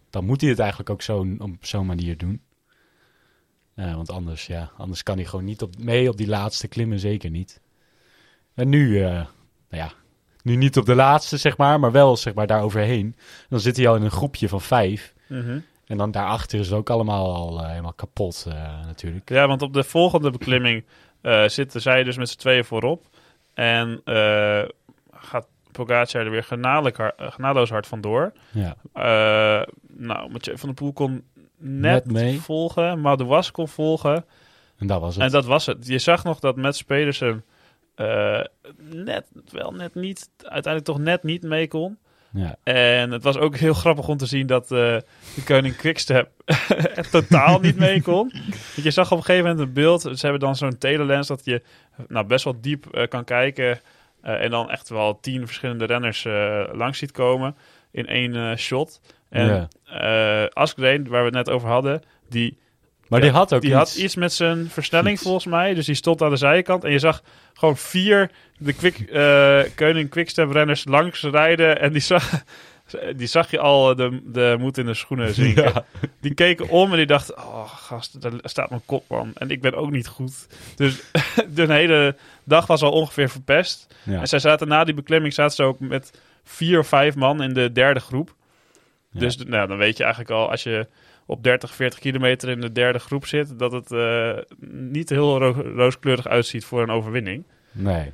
Speaker 3: dan moet hij het eigenlijk ook zo, op zo'n manier doen. Eh, want anders, ja, anders kan hij gewoon niet op, mee op die laatste klimmen, zeker niet. En nu, eh, nou ja, nu niet op de laatste, zeg maar, maar wel zeg maar, daar overheen. Dan zit hij al in een groepje van vijf.
Speaker 1: Mhm.
Speaker 3: En dan daarachter is het ook allemaal al eh, helemaal kapot, eh, natuurlijk.
Speaker 1: ja, want op de volgende beklimming eh, zitten zij dus met z'n tweeën voorop. En eh, gaat Pogacar er weer genadelijk har- eh, genadeloos hard vandoor.
Speaker 3: Ja.
Speaker 1: Eh nou, Mathieu van der Poel kon net,
Speaker 3: Net mee.
Speaker 1: volgen. Madouas kon volgen.
Speaker 3: En dat was het.
Speaker 1: En dat was het. Je zag nog dat Matt Pedersen eh, net, wel net niet, uiteindelijk toch net niet mee kon.
Speaker 3: Ja.
Speaker 1: En het was ook heel grappig om te zien dat eh, de koning Quickstep echt totaal niet mee kon. Want je zag op een gegeven moment een beeld. Ze hebben dan zo'n telelens dat je nou, best wel diep eh, kan kijken. eh, en dan echt wel tien verschillende renners eh, langs ziet komen in één eh, shot. En
Speaker 3: Ja.
Speaker 1: eh Asgreen, waar we het net over hadden, die
Speaker 3: Maar
Speaker 1: Ja,
Speaker 3: die had ook
Speaker 1: Die
Speaker 3: iets.
Speaker 1: had iets met zijn versnelling
Speaker 3: Iets.
Speaker 1: volgens mij. Dus die stond aan de zijkant. En je zag gewoon vier de quick, eh Keuning Quickstep renners langs rijden. En die zag, die zag je al eh, de, de moed in de schoenen zinken.
Speaker 3: Ja.
Speaker 1: Die keken om en die dachten... Oh gast, daar staat mijn kop man. En ik ben ook niet goed. Dus de hele dag was al ongeveer verpest.
Speaker 3: Ja.
Speaker 1: En zij zaten na die beklemming zaten ze ook met vier of vijf man in de derde groep.
Speaker 3: Ja.
Speaker 1: Dus nou, dan weet je eigenlijk al, als je op 30, 40 kilometer in de derde groep zit, dat het eh, niet heel ro- rooskleurig uitziet voor een overwinning.
Speaker 3: Nee.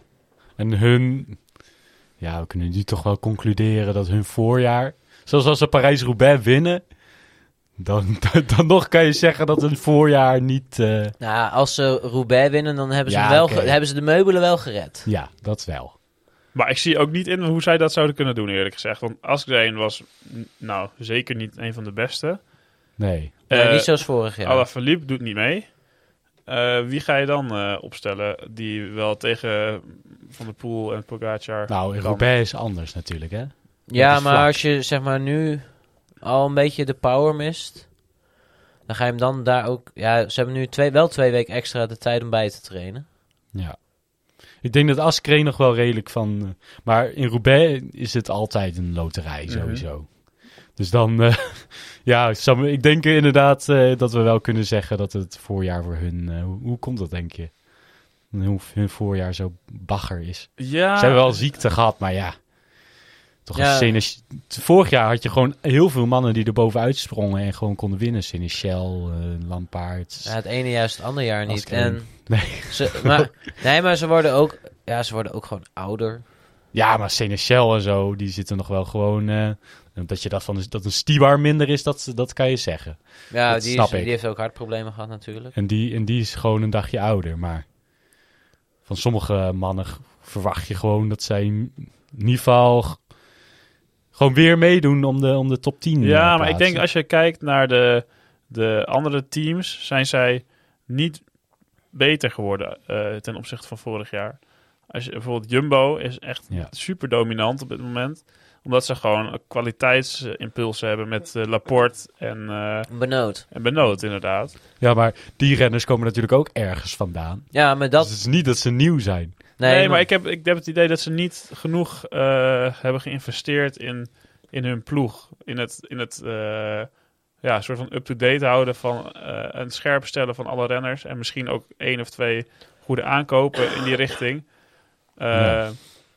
Speaker 3: En hun... Ja, we kunnen nu toch wel concluderen dat hun voorjaar... Zoals als ze Parijs-Roubaix winnen... Dan, dan, dan nog kan je zeggen dat hun voorjaar niet... eh,
Speaker 2: Nou, als ze Roubaix winnen, dan hebben ze,
Speaker 3: Ja,
Speaker 2: hem wel
Speaker 3: oké.
Speaker 2: ge- hebben ze de meubelen wel gered.
Speaker 3: ja, dat wel.
Speaker 1: Maar ik zie ook niet in hoe zij dat zouden kunnen doen, eerlijk gezegd. Want Asgreen was, n- nou, zeker niet een van de beste.
Speaker 3: Nee.
Speaker 2: Maar
Speaker 1: Eh,
Speaker 2: niet zoals vorig
Speaker 3: oh,
Speaker 2: jaar.
Speaker 1: Alaphilippe doet niet mee. Eh, wie ga je dan eh, opstellen die wel tegen Van der Poel en Pogacar...
Speaker 3: Nou, in
Speaker 1: kan?
Speaker 3: Roubaix is anders natuurlijk, hè? dat
Speaker 2: ja,
Speaker 3: is
Speaker 2: maar
Speaker 3: vlak.
Speaker 2: als je zeg maar nu al een beetje de power mist, dan ga je hem dan daar ook... Ja, ze hebben nu twee, wel twee weken extra de tijd om bij te trainen.
Speaker 3: Ja. Ik denk dat Askreen nog wel redelijk van... eh, Maar in Roubaix is het altijd een loterij,
Speaker 1: Mhm.
Speaker 3: sowieso. Dus dan... eh, ja, Sam, ik denk inderdaad eh, dat we wel kunnen zeggen dat het voorjaar voor hun... eh, hoe, hoe komt dat, denk je? Hoe hun voorjaar zo bagger is.
Speaker 1: Ja,
Speaker 3: Ze hebben wel ziekte gehad, maar ja... Toch
Speaker 2: Ah. Ja.
Speaker 3: een Senes- Vorig jaar had je gewoon heel veel mannen die er bovenuit sprongen en gewoon konden winnen. Senechel, eh Lampaard.
Speaker 2: Ja, het ene jaar is het andere jaar
Speaker 3: Als
Speaker 2: niet.
Speaker 3: ik hem-
Speaker 2: En
Speaker 3: Nee.
Speaker 2: ze, maar, nee, maar ze worden ook... Ja, ze worden ook gewoon ouder.
Speaker 3: Ja, maar Senechel en zo, die zitten nog wel gewoon... eh, dat, je dat, van, dat een stibar minder is, dat, dat kan je zeggen.
Speaker 2: Ja,
Speaker 3: Dat
Speaker 2: die,
Speaker 3: snap
Speaker 2: is, die
Speaker 3: ik.
Speaker 2: heeft ook hartproblemen gehad natuurlijk.
Speaker 3: En die, en die is gewoon een dagje ouder. Maar van sommige mannen g- verwacht je gewoon dat zij in ieder geval g- gewoon weer meedoen om de, om de top 10.
Speaker 1: Ja,
Speaker 3: eh,
Speaker 1: maar ik
Speaker 3: plaatsen.
Speaker 1: denk als je kijkt naar de, de andere teams, zijn zij niet beter geworden eh, ten opzichte van vorig jaar. Als je, bijvoorbeeld Jumbo is echt
Speaker 3: Ja.
Speaker 1: super dominant op dit moment. Omdat ze gewoon kwaliteitsimpulsen hebben met eh, Laporte en, eh,
Speaker 2: Benood.
Speaker 1: en Benoot inderdaad.
Speaker 3: Ja, maar die renners komen natuurlijk ook ergens vandaan.
Speaker 2: Ja, maar
Speaker 3: Dat...
Speaker 2: dat...
Speaker 3: het is niet dat ze nieuw zijn.
Speaker 1: Nee, maar
Speaker 2: maar-
Speaker 1: ik heb, ik heb het idee dat ze niet genoeg eh, hebben geïnvesteerd in, in hun ploeg. In het, in het eh, ja, soort van up-to-date houden van eh, een scherp stellen van alle renners. En misschien ook één of twee goede aankopen in die richting. Eh,
Speaker 3: Ja.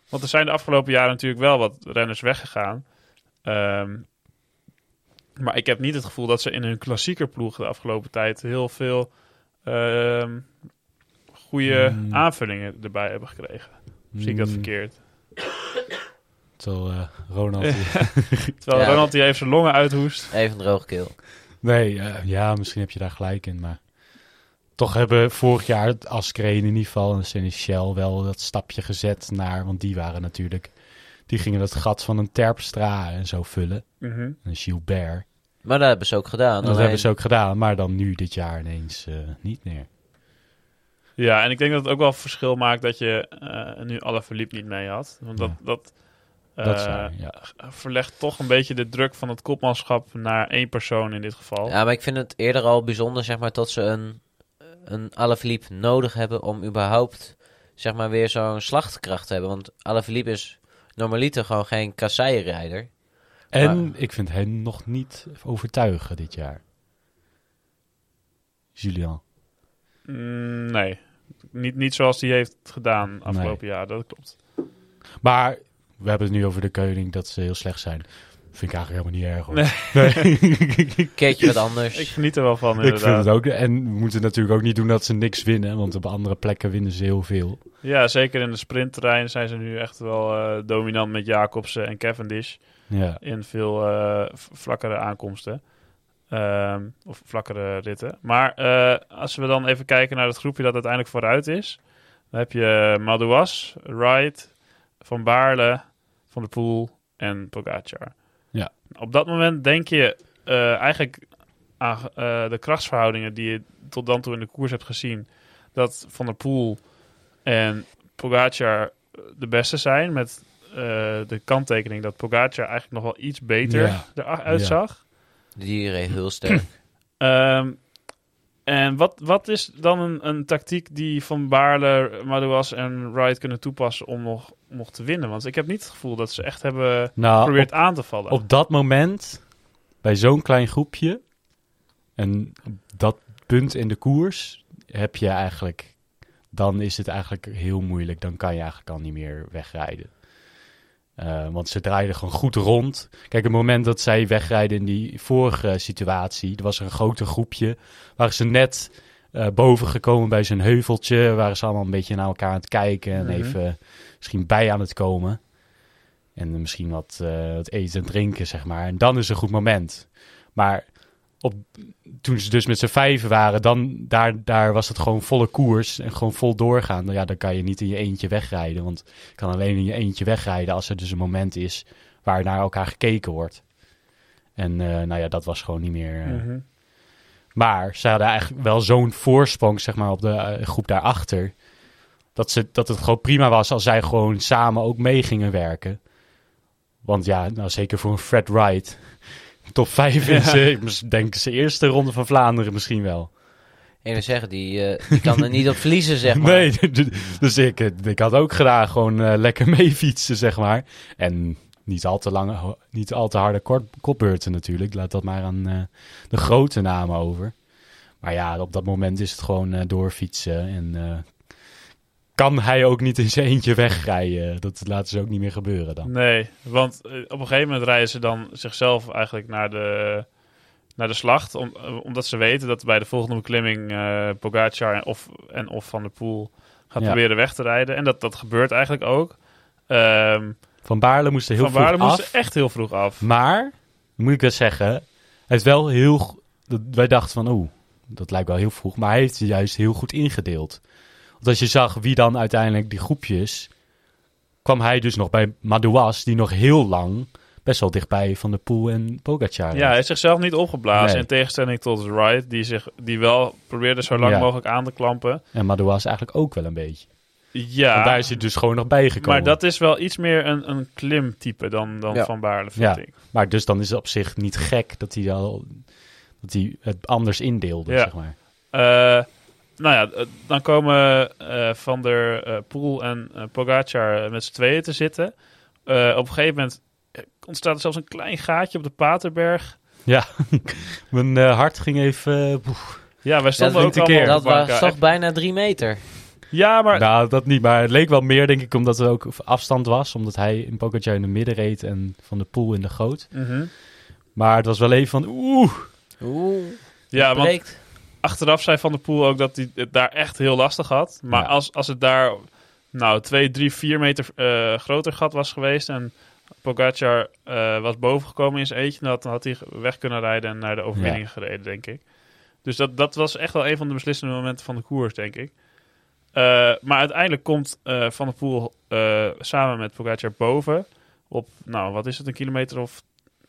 Speaker 1: Want er zijn de afgelopen jaren natuurlijk wel wat renners weggegaan. Ehm, maar ik heb niet het gevoel dat ze in hun klassieker ploeg de afgelopen tijd heel veel ehm, goede
Speaker 3: Hmm.
Speaker 1: aanvullingen erbij hebben gekregen. Of Zie ik dat
Speaker 3: Mm,
Speaker 1: verkeerd?
Speaker 3: Terwijl eh, Ronald... hier-
Speaker 1: Terwijl
Speaker 2: Ja.
Speaker 1: Ronald die even zijn longen uithoest.
Speaker 2: Even een droogkeel.
Speaker 3: Nee, eh, ja, misschien heb je daar gelijk in, maar toch hebben vorig jaar Askreen in ieder geval en Senechel wel dat stapje gezet naar, want die waren natuurlijk, die gingen dat gat van een Terpstra en zo vullen,
Speaker 1: Mhm.
Speaker 3: een Gilbert.
Speaker 2: Maar dat hebben ze ook gedaan.
Speaker 3: Dat
Speaker 2: alleen-
Speaker 3: hebben ze ook gedaan, maar dan nu dit jaar ineens eh, niet meer.
Speaker 1: Ja, en ik denk dat het ook wel verschil maakt dat je eh nu alle verliep niet mee had. Want dat,
Speaker 3: Ja.
Speaker 1: dat,
Speaker 3: Dat is
Speaker 1: eh,
Speaker 3: waar, ja.
Speaker 1: verlegt toch een beetje de druk van het kopmanschap naar één persoon in dit geval.
Speaker 2: Ja, maar ik vind het eerder al bijzonder, zeg maar, dat ze een, een Alaphilippe nodig hebben om überhaupt, zeg maar, weer zo'n slagkracht te hebben. Want Alaphilippe is normaliter gewoon geen kasseirijder.
Speaker 3: En ik vind hen nog niet overtuigen dit jaar. Julian.
Speaker 1: Mm, nee, niet, niet zoals die heeft gedaan afgelopen jaar, dat klopt.
Speaker 3: Maar we hebben het nu over de Keuning dat ze heel slecht zijn. Vind ik eigenlijk helemaal niet erg hoor.
Speaker 1: Nee.
Speaker 3: nee.
Speaker 2: Keertje wat anders.
Speaker 1: Ik geniet er wel van,
Speaker 3: Ik vind
Speaker 1: inderdaad.
Speaker 3: het ook. En we moeten natuurlijk ook niet doen dat ze niks winnen. Want op andere plekken winnen ze heel veel.
Speaker 1: Ja, zeker in de sprintterrein zijn ze nu echt wel eh, dominant met Jacobsen en Cavendish.
Speaker 3: Ja.
Speaker 1: in veel eh, v- vlakkere aankomsten. Ehm, of vlakkere ritten. Maar eh, als we dan even kijken naar het groepje dat uiteindelijk vooruit is. Dan heb je Madouas, Wright, Van Baarle, Van der Poel en Pogacar.
Speaker 3: Ja.
Speaker 1: Op dat moment denk je eh, eigenlijk aan eh, de krachtsverhoudingen die je tot dan toe in de koers hebt gezien. Dat Van der Poel en Pogacar eh, de beste zijn. Met eh, de kanttekening dat Pogacar eigenlijk nog wel iets beter
Speaker 3: Ja.
Speaker 1: eruit
Speaker 3: Ja.
Speaker 1: zag.
Speaker 2: Die reed heel sterk.
Speaker 1: Ehm, En wat, wat is dan een, een tactiek die Van Baarle, Madouas en Wright kunnen toepassen om nog, om nog te winnen? Want ik heb niet het gevoel dat ze echt hebben
Speaker 3: Nou,
Speaker 1: geprobeerd
Speaker 3: op,
Speaker 1: aan te vallen.
Speaker 3: op dat moment, bij zo'n klein groepje en dat punt in de koers, heb je eigenlijk, dan is het eigenlijk heel moeilijk. Dan kan je eigenlijk al niet meer wegrijden. Eh, want ze draaiden gewoon goed rond. Kijk, het moment dat zij wegrijden in die vorige situatie, er was er een groter groepje, waren ze net eh, boven gekomen bij zo'n heuveltje, waren ze allemaal een beetje naar elkaar aan het kijken en
Speaker 1: Mhm.
Speaker 3: even misschien bij aan het komen. En misschien wat, eh, wat eten en drinken, zeg maar. En dan is een goed moment. Maar op, toen ze dus met z'n vijven waren, dan, daar, daar was het gewoon volle koers en gewoon vol doorgaan. Ja, dan kan je niet in je eentje wegrijden, want je kan alleen in je eentje wegrijden als er dus een moment is waar naar elkaar gekeken wordt. En eh, nou ja, dat was gewoon niet meer. eh.
Speaker 1: Mhm.
Speaker 3: Maar ze hadden eigenlijk wel zo'n voorsprong, zeg maar, op de eh, groep daarachter. Dat, ze, dat het gewoon prima was als zij gewoon samen ook mee gingen werken. Want ja, nou zeker voor een Fred Wright. Top 5
Speaker 1: Ja.
Speaker 3: in zijn, ik mis- denk zijn eerste ronde van Vlaanderen misschien wel.
Speaker 2: Ik wil zeggen, die, eh, die kan er niet op verliezen, zeg maar.
Speaker 3: Nee, dus ik, eh, ik had ook graag gewoon eh, lekker mee fietsen, zeg maar. En niet al te lange, ho- niet al te harde kort, kopbeurten natuurlijk. Laat dat maar aan eh, de grote namen over. Maar ja, op dat moment is het gewoon eh, doorfietsen. En eh, kan hij ook niet in zijn eentje wegrijden. Dat laten ze ook niet meer gebeuren dan.
Speaker 1: Nee, want eh, op een gegeven moment rijden ze dan zichzelf eigenlijk naar de, naar de slacht. Om, eh, omdat ze weten dat bij de volgende beklimming eh Pogacar en of, en of Van der Poel gaat
Speaker 3: Ja.
Speaker 1: proberen weg te rijden. En dat, dat gebeurt eigenlijk ook. Ehm,
Speaker 3: Van Baarle moest er heel
Speaker 1: van Baarle
Speaker 3: vroeg af.
Speaker 1: moest echt heel vroeg af.
Speaker 3: Maar, moet ik wel zeggen, hij heeft wel heel... go- dat- Wij dachten van, oeh, dat lijkt wel heel vroeg. Maar hij heeft ze juist heel goed ingedeeld. Want als je zag wie dan uiteindelijk die groepjes... kwam hij dus nog bij Madouas, die nog heel lang... best wel dichtbij Van der Poel en Pogacar
Speaker 1: Ja, hij
Speaker 3: was.
Speaker 1: heeft zichzelf niet opgeblazen.
Speaker 3: Nee.
Speaker 1: In tegenstelling tot Wright, die, zich, die wel probeerde zo lang
Speaker 3: Ja.
Speaker 1: mogelijk aan te klampen.
Speaker 3: En Madouas eigenlijk ook wel een beetje.
Speaker 1: Ja,
Speaker 3: Want daar is hij dus gewoon nog bij gekomen.
Speaker 1: maar dat is wel iets meer een, een klimtype dan, dan
Speaker 2: Ja.
Speaker 1: Van Baarle, vind
Speaker 3: Ja.
Speaker 1: ik.
Speaker 3: Maar dus dan is het op zich niet gek dat hij, al, dat hij het anders indeelde,
Speaker 1: Ja.
Speaker 3: zeg maar.
Speaker 1: Eh, nou ja, eh, dan komen eh, Van der eh, Poel en eh, Pogacar eh, met z'n tweeën te zitten. Eh, op een gegeven moment eh, ontstaat er zelfs een klein gaatje op de Paterberg.
Speaker 3: Mijn eh, hart ging even... eh, poef.
Speaker 1: Ja, wij stonden
Speaker 2: dat
Speaker 1: ook
Speaker 3: vind ik
Speaker 1: allemaal
Speaker 3: een keer.
Speaker 1: op
Speaker 2: dat
Speaker 1: de bank.
Speaker 2: was toch bijna drie meter.
Speaker 1: Ja, maar
Speaker 3: Nou, dat niet. Maar het leek wel meer, denk ik, omdat er ook afstand was. Omdat hij in Pogacar in de midden reed en Van de Poel in de goot.
Speaker 1: Mhm.
Speaker 3: Maar het was wel even van, oeh.
Speaker 2: Oeh,
Speaker 1: ja, want
Speaker 2: breekt.
Speaker 1: achteraf zei Van der Poel ook dat hij het daar echt heel lastig had. Maar
Speaker 3: Ja.
Speaker 1: als, als het daar nou 2, 3, 4 meter eh, groter gat was geweest en Pogacar eh, was bovengekomen in zijn eentje, dan had, dan had hij weg kunnen rijden en naar de overwinning gereden, denk ik. Dus dat, dat was echt wel een van de beslissende momenten van de koers, denk ik. Eh, maar uiteindelijk komt eh, Van der Poel eh, samen met Pogacar boven op, nou wat is het, een kilometer of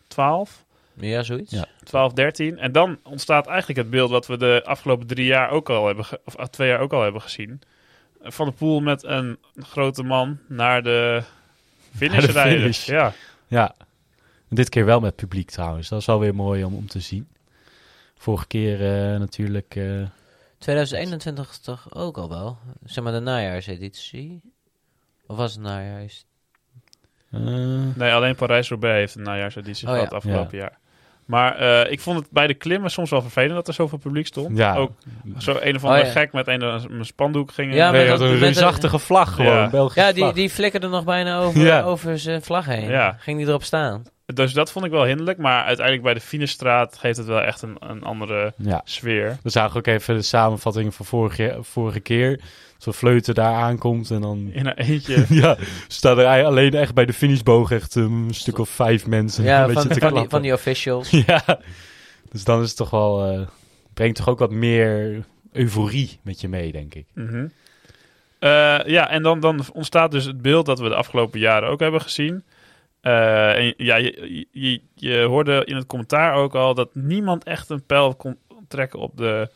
Speaker 1: 12?
Speaker 2: Ja, zoiets.
Speaker 3: Ja.
Speaker 1: 12, 13. En dan ontstaat eigenlijk het beeld wat we de afgelopen drie jaar ook al hebben, ge- of ah, twee jaar ook al hebben gezien. Van de Poel met een grote man naar de finish
Speaker 3: Naar de
Speaker 1: rijden.
Speaker 3: finish.
Speaker 1: Ja.
Speaker 3: Ja. En dit keer wel met publiek trouwens. Dat is wel weer mooi om, om te zien. Vorige keer eh, natuurlijk... eh,
Speaker 2: 2021 toch ook al wel? Zeg maar de najaarseditie. Of was het najaars?
Speaker 3: eh,
Speaker 1: Nee, alleen Parijs-Roubaix heeft een najaarseditie
Speaker 2: Oh,
Speaker 1: gehad
Speaker 2: ja.
Speaker 1: afgelopen jaar. Maar eh, ik vond het bij de klimmen soms wel vervelend dat er zoveel publiek stond.
Speaker 3: ja.
Speaker 1: Ook zo een of andere
Speaker 2: Oh, ja.
Speaker 1: gek met een, een spandoek ging.
Speaker 2: Ja,
Speaker 3: nee,
Speaker 2: met
Speaker 3: dat
Speaker 2: dat-
Speaker 3: een
Speaker 2: met dat-
Speaker 3: reusachtige vlag gewoon.
Speaker 1: Ja.
Speaker 3: Belgische
Speaker 2: Ja, die,
Speaker 3: vlag.
Speaker 2: die flikkerde nog bijna over,
Speaker 3: Ja.
Speaker 2: over zijn vlag heen.
Speaker 1: Ja.
Speaker 2: Ging die erop staan?
Speaker 1: Dus dat vond ik wel hinderlijk. Maar uiteindelijk bij de finishstraat geeft het wel echt een, een andere
Speaker 3: Ja.
Speaker 1: sfeer.
Speaker 3: We zagen ook even de samenvatting van vorige, vorige keer. Zo'n fleuten daar aankomt en dan...
Speaker 1: In een eentje.
Speaker 3: Ja, staan er ei- alleen echt bij de finishboog echt um, een stuk of vijf mensen.
Speaker 2: Ja,
Speaker 3: een beetje
Speaker 2: van,
Speaker 3: te
Speaker 2: van, die,
Speaker 3: klappen.
Speaker 2: van die officials.
Speaker 3: Ja, dus dan is het toch wel... eh, brengt toch ook wat meer euforie met je mee, denk ik.
Speaker 1: Mhm. Eh, ja, en dan, dan ontstaat dus het beeld dat we de afgelopen jaren ook hebben gezien. Eh, en ja, je, je, je hoorde in het commentaar ook al dat niemand echt een pijl kon trekken op de,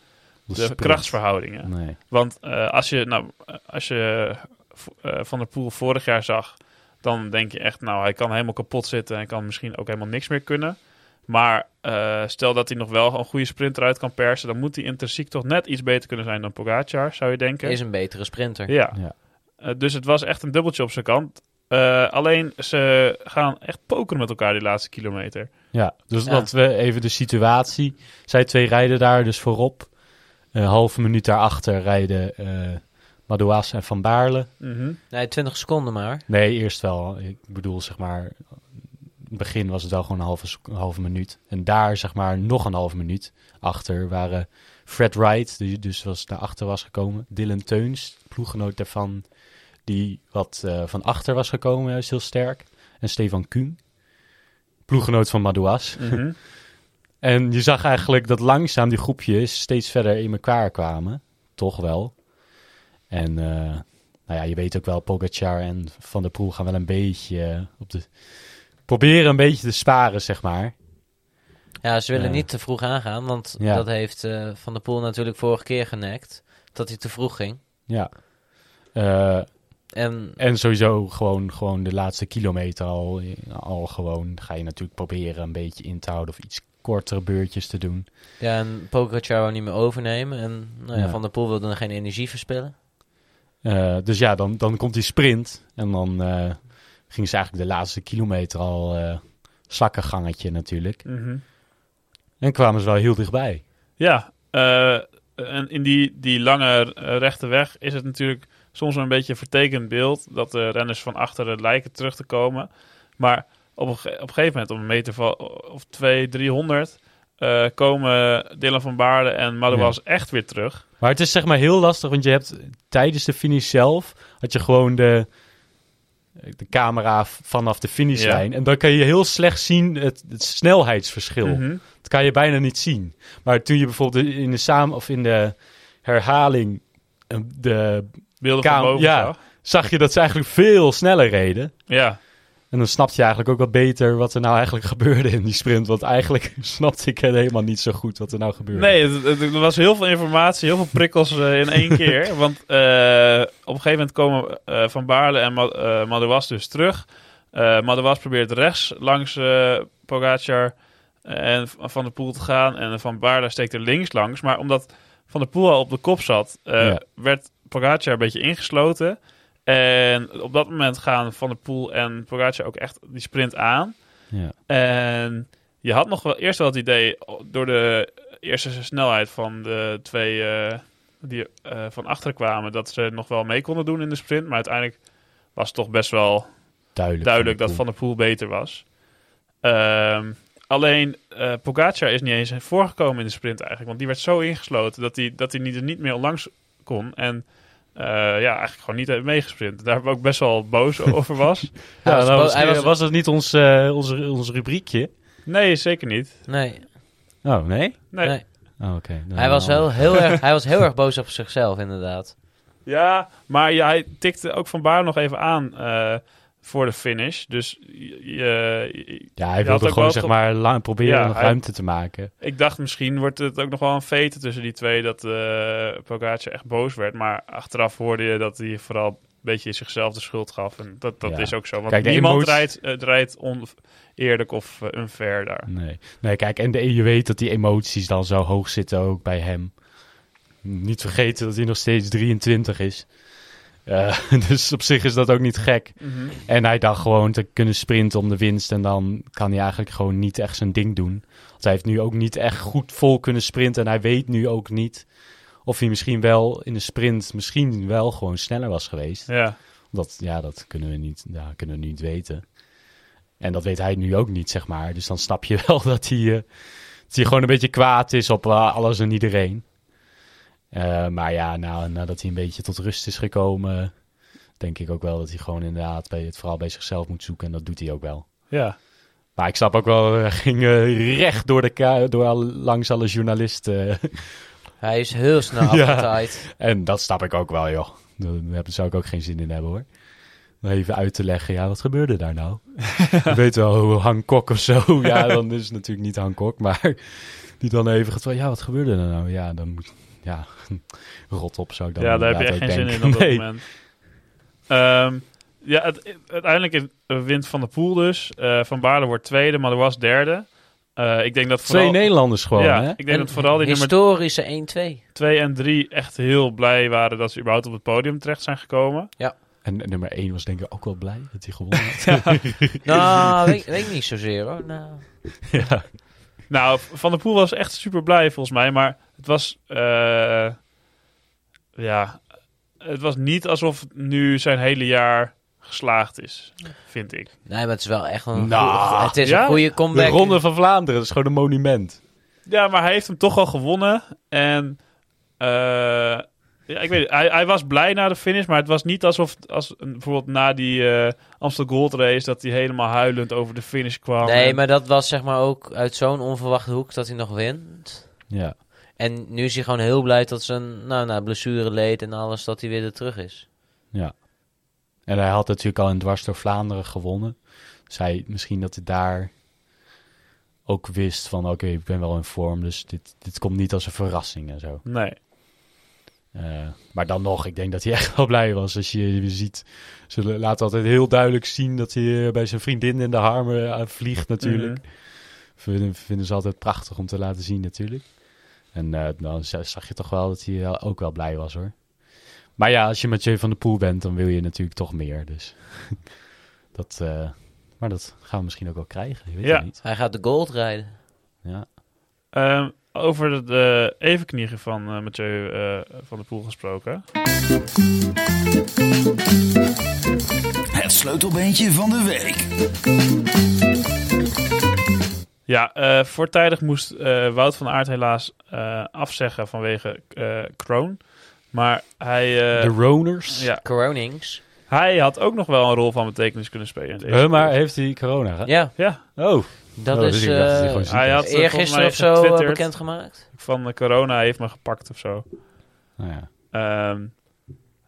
Speaker 3: De
Speaker 1: de
Speaker 3: sprint.
Speaker 1: krachtsverhoudingen.
Speaker 3: Nee.
Speaker 1: Want eh, als je, nou, eh, als je vo- eh, Van der Poel vorig jaar zag, dan denk je echt, nou, hij kan helemaal kapot zitten en kan misschien ook helemaal niks meer kunnen. Maar eh, stel dat hij nog wel een goede sprint eruit kan persen, dan moet hij intrinsiek toch net iets beter kunnen zijn dan Pogacar, zou je denken.
Speaker 2: Is een betere sprinter.
Speaker 1: Ja.
Speaker 3: Ja.
Speaker 1: Eh, dus het was echt een dubbeltje op zijn kant. Eh, alleen ze gaan echt pokeren met elkaar die laatste kilometer.
Speaker 3: Ja, dus
Speaker 2: Ja.
Speaker 3: dat we even de situatie. Zij twee rijden daar dus voorop. Een halve minuut daarachter rijden eh Madouas en Van Baarle.
Speaker 1: Mhm.
Speaker 2: Nee, 20 seconden maar.
Speaker 3: Nee, eerst wel. Ik bedoel, zeg maar, in het begin was het wel gewoon een halve, sec- een halve minuut. En daar, zeg maar, nog een halve minuut achter waren Fred Wright, die dus was naar achter was gekomen. Dylan Teuns, ploeggenoot daarvan, die wat eh, van achter was gekomen, juist heel sterk. En Stefan Kuhn, ploeggenoot van Madouas.
Speaker 1: Mhm.
Speaker 3: En je zag eigenlijk dat langzaam die groepjes steeds verder in elkaar kwamen. Toch wel. En eh, nou ja, je weet ook wel, Pogacar en Van der Poel gaan wel een beetje eh, op de... Proberen een beetje te sparen, zeg maar.
Speaker 2: Ja, ze willen
Speaker 3: Ja.
Speaker 2: niet te vroeg aangaan, want
Speaker 3: Ja.
Speaker 2: dat heeft eh, Van der Poel natuurlijk vorige keer genekt. Dat hij te vroeg ging.
Speaker 3: Ja. Eh,
Speaker 2: En
Speaker 3: en sowieso gewoon, gewoon de laatste kilometer al, eh, al gewoon ga je natuurlijk proberen een beetje in te houden of iets kortere beurtjes te doen.
Speaker 2: ja, en Pogacar wou niet meer overnemen. En nou ja,
Speaker 3: Ja.
Speaker 2: Van der Poel wilde dan geen energie verspillen.
Speaker 3: Eh, dus ja, dan, dan komt die sprint. En dan eh ging ze eigenlijk de laatste kilometer al eh slakkengangetje natuurlijk.
Speaker 1: Mhm.
Speaker 3: En kwamen ze wel heel dichtbij.
Speaker 1: Ja, eh, en in die, die lange eh, rechte weg is het natuurlijk soms een beetje een vertekend beeld dat de renners van achteren lijken terug te komen. Maar op een, ge- op een gegeven moment, op een meter van, of twee, driehonderd, eh, komen Dylan van Baarle en Madouas echt weer terug.
Speaker 3: Maar het is zeg maar heel lastig, want je hebt tijdens de finish zelf... had je gewoon de, de camera v- vanaf de finishlijn. En dan kan je heel slecht zien het, het snelheidsverschil.
Speaker 1: Mhm.
Speaker 3: Dat kan je bijna niet zien. Maar toen je bijvoorbeeld in de, saam, of in de herhaling... eh, De,
Speaker 1: Beelden
Speaker 3: Kaam-
Speaker 1: van boven.
Speaker 3: ja.
Speaker 1: zag.
Speaker 3: zag je dat ze eigenlijk veel sneller reden.
Speaker 1: ja.
Speaker 3: En dan snap je eigenlijk ook wat beter wat er nou eigenlijk gebeurde in die sprint. Want eigenlijk snapte ik helemaal niet zo goed wat er nou gebeurde.
Speaker 1: Nee, het, het- er was heel veel informatie, heel veel prikkels eh, in één keer. Want eh, op een gegeven moment komen eh, Van Baarle en Ma eh, Madouas dus terug. Eh Madouas probeert rechts langs eh Pogacar en V- Van der Poel te gaan. En Van Baarle steekt er links langs. Maar omdat Van der Poel al op de kop zat, eh,
Speaker 3: Ja.
Speaker 1: werd Pogacar een beetje ingesloten. En op dat moment gaan Van der Poel en Pogacar ook echt die sprint aan.
Speaker 3: Ja.
Speaker 1: En je had nog wel eerst wel het idee, door de eerste snelheid van de twee eh, die eh, van achter kwamen, dat ze nog wel mee konden doen in de sprint. Maar uiteindelijk was het toch best wel
Speaker 3: Duidelijk.
Speaker 1: duidelijk
Speaker 3: van
Speaker 1: dat
Speaker 3: de
Speaker 1: Van der Poel beter was. Ehm, alleen eh Pogacar is niet eens voorgekomen in de sprint eigenlijk. Want die werd zo ingesloten dat hij dat hij niet, er niet meer langs kon. En eh, ja, eigenlijk gewoon niet heeft meegesprint. Daar ook best wel boos over was.
Speaker 3: Poel. Ja,
Speaker 2: Hij was
Speaker 3: nou,
Speaker 2: bo-
Speaker 3: was,
Speaker 2: hij was-
Speaker 3: was dat niet ons, eh, onze, ons rubriekje?
Speaker 1: Nee, zeker niet.
Speaker 2: Nee,
Speaker 3: Oh, nee?
Speaker 1: Nee.
Speaker 2: Nee.
Speaker 3: Oh, oké. Dan
Speaker 2: hij, was
Speaker 3: wel
Speaker 2: wel heel erg, hij was heel erg boos op zichzelf, inderdaad.
Speaker 1: Ja, maar ja, hij tikte ook Van Baarle nog even aan eh, voor de finish. Dus je- je-
Speaker 3: Ja,
Speaker 1: Je
Speaker 3: hij
Speaker 1: had ook
Speaker 3: wilde gewoon
Speaker 1: wel
Speaker 3: zeg
Speaker 1: ge-
Speaker 3: maar la- proberen
Speaker 1: Ja,
Speaker 3: nog
Speaker 1: hij-
Speaker 3: ruimte te maken.
Speaker 1: ik dacht misschien wordt het ook nog wel een vete tussen die twee... dat eh Pogacar echt boos werd. Maar achteraf hoorde je dat hij vooral een beetje zichzelf de schuld gaf. En dat, dat
Speaker 3: Ja.
Speaker 1: is ook zo. Want
Speaker 3: Kijk, de
Speaker 1: niemand
Speaker 3: emotie-
Speaker 1: rijdt, eh, rijdt oneerlijk of eh, unfair daar.
Speaker 3: Nee. nee, kijk, en de, je weet dat die emoties dan zo hoog zitten ook bij hem. Niet vergeten dat hij nog steeds 23 is. Eh, dus op zich is dat ook niet gek. En hij dacht gewoon te kunnen sprinten om de winst. En dan kan hij eigenlijk gewoon niet echt zijn ding doen. Want hij heeft nu ook niet echt goed vol kunnen sprinten. En hij weet nu ook niet of hij misschien wel in de sprint misschien wel gewoon sneller was geweest.
Speaker 1: Ja,
Speaker 3: Dat, ja, dat kunnen we, niet, ja, kunnen we niet weten. En dat weet hij nu ook niet, zeg maar. Dus dan snap je wel dat hij, eh, dat hij gewoon een beetje kwaad is op eh, alles en iedereen. Eh, maar ja, nou, nadat hij een beetje tot rust is gekomen, denk ik ook wel dat hij gewoon inderdaad bij het vooral bij zichzelf moet zoeken. En dat doet hij ook wel.
Speaker 1: ja.
Speaker 3: Maar ik snap ook wel, hij ging eh, recht door de ka- door al- langs alle journalisten. eh,
Speaker 2: Hij is heel snel
Speaker 3: Ja.
Speaker 2: afgetaaid.
Speaker 3: en dat snap ik ook wel, joh. Daar heb- zou ik ook geen zin in hebben, hoor. Om Even uit te leggen, ja, wat gebeurde daar nou? Je weet wel, hoe Hancock of zo. Ja, dan is het natuurlijk niet Hancock, maar die dan even gaat van, ja, wat gebeurde er nou? Ja, dan moet, ja, rot op zou ik dan
Speaker 1: ja, daar heb je echt geen
Speaker 3: inderdaad ook
Speaker 1: zin in
Speaker 3: denken.
Speaker 1: op dat
Speaker 3: Nee.
Speaker 1: moment. Ehm, ja, het- uiteindelijk is- eh, wint Van der Poel dus. Eh, van Baarle wordt tweede, maar er was derde. Eh, ik denk dat
Speaker 3: Twee
Speaker 1: vooral...
Speaker 3: Nederlanders gewoon,
Speaker 1: ja,
Speaker 3: hè?
Speaker 1: ik denk dat vooral die nummer
Speaker 2: Historische 1-2.
Speaker 1: 2 en 3 echt heel blij waren dat ze überhaupt op het podium terecht zijn gekomen.
Speaker 3: En, en nummer 1 was denk ik ook wel blij dat hij gewonnen had.
Speaker 2: Nou, weet, weet ik niet zozeer hoor. Nou,
Speaker 3: ja.
Speaker 1: Nou, Van der Poel was echt super blij volgens mij, maar het was. eh, ja. Het was niet alsof nu zijn hele jaar geslaagd is, vind ik.
Speaker 2: nee, maar het is wel echt een,
Speaker 3: Nou,
Speaker 2: goeie- het is
Speaker 1: ja?
Speaker 2: een goede
Speaker 3: De
Speaker 2: comeback.
Speaker 3: Ronde van Vlaanderen, dat is gewoon een monument.
Speaker 1: Ja, maar hij heeft hem toch al gewonnen. En. eh, ja, ik weet het, hij, hij was blij na de finish, maar het was niet alsof. Als, bijvoorbeeld na die eh Amsterdam Gold Race, dat hij helemaal huilend over de finish kwam.
Speaker 2: Nee,
Speaker 1: En-
Speaker 2: maar dat was zeg maar ook uit zo'n onverwachte hoek dat hij nog wint.
Speaker 3: Ja.
Speaker 2: En nu is hij gewoon heel blij dat zijn nou, na blessure leed en alles, dat hij weer er terug is.
Speaker 3: En hij had natuurlijk al in dwars door Vlaanderen gewonnen. Dus hij, misschien dat hij daar ook wist van... oké, ik ben wel in vorm, dus dit, dit komt niet als een verrassing en zo.
Speaker 1: Nee.
Speaker 3: Eh, maar dan nog, ik denk dat hij echt wel blij was. Als je, je ziet, ze laten altijd heel duidelijk zien... dat hij eh, bij zijn vriendin in de armen eh, vliegt natuurlijk. Vinden, vinden ze altijd prachtig om te laten zien natuurlijk. En eh, dan z- zag je toch wel dat hij wel- ook wel blij was hoor. Maar ja, als je Mathieu van der Poel bent, dan wil je natuurlijk toch meer. Dus dat, eh, maar dat gaan we misschien ook wel krijgen. Je weet
Speaker 1: Ja.
Speaker 3: het niet.
Speaker 2: Hij gaat de gold rijden.
Speaker 3: Ja.
Speaker 1: Ehm, over de, de evenknieën van eh, Mathieu eh, van der Poel gesproken.
Speaker 4: Het sleutelbeentje van de week.
Speaker 1: Ja, eh, voortijdig moest eh, Wout van Aert helaas eh, afzeggen vanwege eh Kroon. Maar hij, eh,
Speaker 3: de Roners.
Speaker 1: ja,
Speaker 2: Coronings.
Speaker 1: hij had ook nog wel een rol van betekenis kunnen spelen. in deze
Speaker 3: Huh, maar
Speaker 1: koers.
Speaker 3: heeft hij corona? hè?
Speaker 2: Ja,
Speaker 1: Ja,
Speaker 3: Oh,
Speaker 2: dat
Speaker 3: Oh,
Speaker 2: is
Speaker 3: dus ik dacht dat hij
Speaker 2: eh
Speaker 3: gewoon ziek
Speaker 1: hij
Speaker 3: was.
Speaker 1: had eh, volgens mij
Speaker 2: eergisteren of zo eh,
Speaker 1: getwitterd
Speaker 2: bekendgemaakt.
Speaker 1: van eh, corona heeft me gepakt of zo.
Speaker 3: Nou ja.
Speaker 1: Ehm,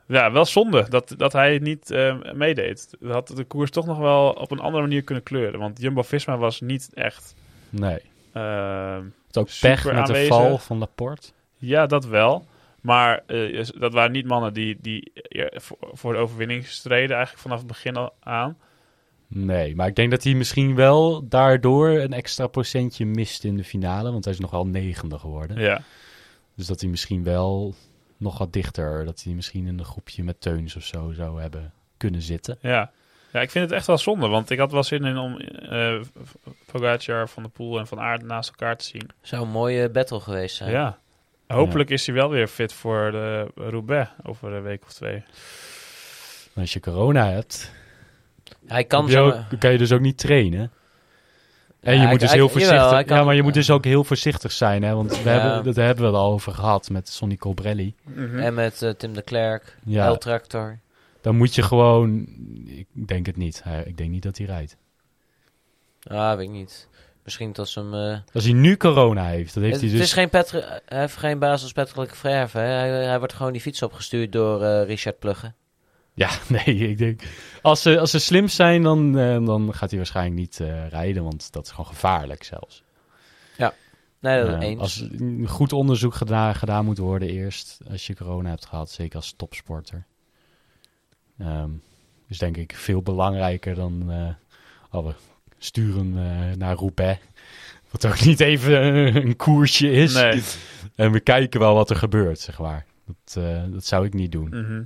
Speaker 1: ja, wel zonde dat, dat hij niet eh, meedeed. Dat had de koers toch nog wel op een andere manier kunnen kleuren. Want Jumbo-Visma was niet echt...
Speaker 3: Nee.
Speaker 1: ehm,
Speaker 3: Het is ook
Speaker 1: Super
Speaker 3: pech met de
Speaker 1: aanwezig.
Speaker 3: val van Laporte.
Speaker 1: Ja, dat wel. Maar eh, is- dat waren niet mannen die, die eh, voor, voor de overwinning streden, eigenlijk vanaf het begin al aan.
Speaker 3: Nee, maar ik denk dat hij misschien wel daardoor een extra procentje mist in de finale. Want hij is nogal negende geworden.
Speaker 1: Ja,
Speaker 3: Dus dat hij misschien wel nog wat dichter, dat hij misschien in een groepje met Teuns of zo zou hebben kunnen zitten.
Speaker 1: ja. ja ik vind het echt wel zonde, want ik had wel zin in om eh Pogacar, Van der Poel en Van Aert naast elkaar te zien.
Speaker 2: Zou een mooie battle geweest
Speaker 1: Ja.
Speaker 2: zijn.
Speaker 1: Hopelijk is hij wel weer fit voor de Roubaix over een week of twee.
Speaker 3: Maar als je corona hebt,
Speaker 2: Hij
Speaker 3: kan,
Speaker 2: kan zo.
Speaker 3: kan je dus ook niet trainen. En je
Speaker 2: Ja,
Speaker 3: moet
Speaker 2: hij-
Speaker 3: dus heel
Speaker 2: hij- jawel,
Speaker 3: voorzichtig.
Speaker 2: hij kan-
Speaker 3: ja, maar je moet dus ook heel voorzichtig zijn, hè? Want we
Speaker 2: Ja.
Speaker 3: hebben, dat hebben we het al over gehad met Sonny Colbrelli.
Speaker 2: En met eh, Tim de Klerk,
Speaker 3: Ja.
Speaker 2: El Tractor.
Speaker 3: Dan moet je gewoon. Ik denk het niet. Hij- Ik denk niet dat hij rijdt.
Speaker 2: Ah, weet ik niet. Misschien dat ze hem... eh,
Speaker 3: Als hij nu corona heeft, dan heeft
Speaker 2: het,
Speaker 3: hij
Speaker 2: het
Speaker 3: dus.
Speaker 2: is geen, Petr, hij heeft geen basis Patrick Verve. hè. Hij, hij wordt gewoon die fiets opgestuurd door eh, Richard Plugge.
Speaker 3: Ja, nee, ik denk. Als ze, als ze slim zijn, dan, eh, dan gaat hij waarschijnlijk niet eh, rijden, want dat is gewoon gevaarlijk zelfs.
Speaker 2: Nee, dat
Speaker 3: Eh,
Speaker 2: Oh, eens.
Speaker 3: Als een goed onderzoek gedaan, gedaan moet worden eerst, als je corona hebt gehad, zeker als topsporter. Ehm, dus denk ik veel belangrijker dan, eh oh, we sturen eh, naar Roubaix, wat ook niet even eh, een koersje is.
Speaker 1: Nee.
Speaker 3: En we kijken wel wat er gebeurt, zeg maar. Dat, eh, dat zou ik niet doen.
Speaker 1: Mhm.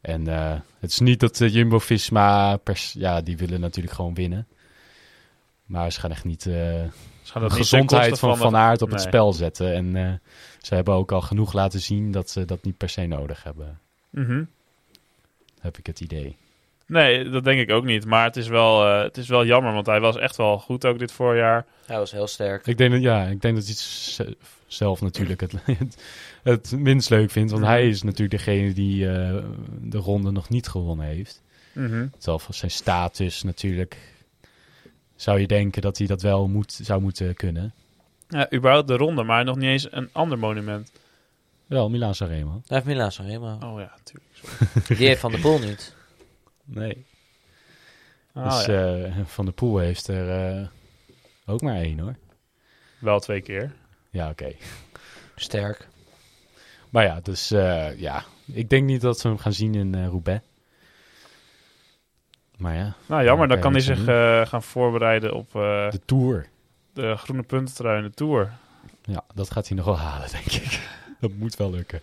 Speaker 3: En eh, het is niet dat eh, Jumbo-Visma, pers- ja, die willen natuurlijk gewoon winnen. Maar ze gaan echt niet... eh,
Speaker 1: Dus gaan
Speaker 3: de
Speaker 1: dat niet ten
Speaker 3: gezondheid
Speaker 1: koste
Speaker 3: van Van Aert op het
Speaker 1: Nee.
Speaker 3: spel zetten. En eh, ze hebben ook al genoeg laten zien dat ze dat niet per se nodig hebben,
Speaker 1: Mhm.
Speaker 3: heb ik het idee.
Speaker 1: Nee, dat denk ik ook niet. Maar het is, wel, eh, het is wel jammer, want hij was echt wel goed ook dit voorjaar.
Speaker 2: Hij was heel sterk.
Speaker 3: Ik denk dat, ja, ik denk dat hij z- zelf natuurlijk het, het, het minst leuk vindt. Want hij is natuurlijk degene die eh, de ronde nog niet gewonnen heeft.
Speaker 1: Mhm.
Speaker 3: Terwijl van zijn status natuurlijk zou je denken dat hij dat wel moet, zou moeten kunnen.
Speaker 1: Ja, überhaupt de ronde, maar nog niet eens een ander monument.
Speaker 3: Wel, Milaan Sanremo.
Speaker 2: Hij heeft Milaan zo helemaal.
Speaker 1: Oh ja, natuurlijk.
Speaker 2: Die heeft Van de Poel niet.
Speaker 3: Nee.
Speaker 1: Ah,
Speaker 3: dus
Speaker 1: ja.
Speaker 3: eh, Van der Poel heeft er eh, ook maar één hoor.
Speaker 1: Wel twee keer.
Speaker 3: Ja, oké.
Speaker 2: Sterk.
Speaker 3: Maar ja, dus eh, ja, ik denk niet dat we hem gaan zien in eh, Roubaix. Maar ja,
Speaker 1: Nou, jammer.
Speaker 3: Ja,
Speaker 1: Nou, Dan kan hij
Speaker 3: oké,
Speaker 1: zich eh, gaan voorbereiden op eh,
Speaker 3: de Tour.
Speaker 1: de groene puntentrui in de Tour.
Speaker 3: Ja, dat gaat hij nog wel halen, denk ik. Dat moet wel lukken.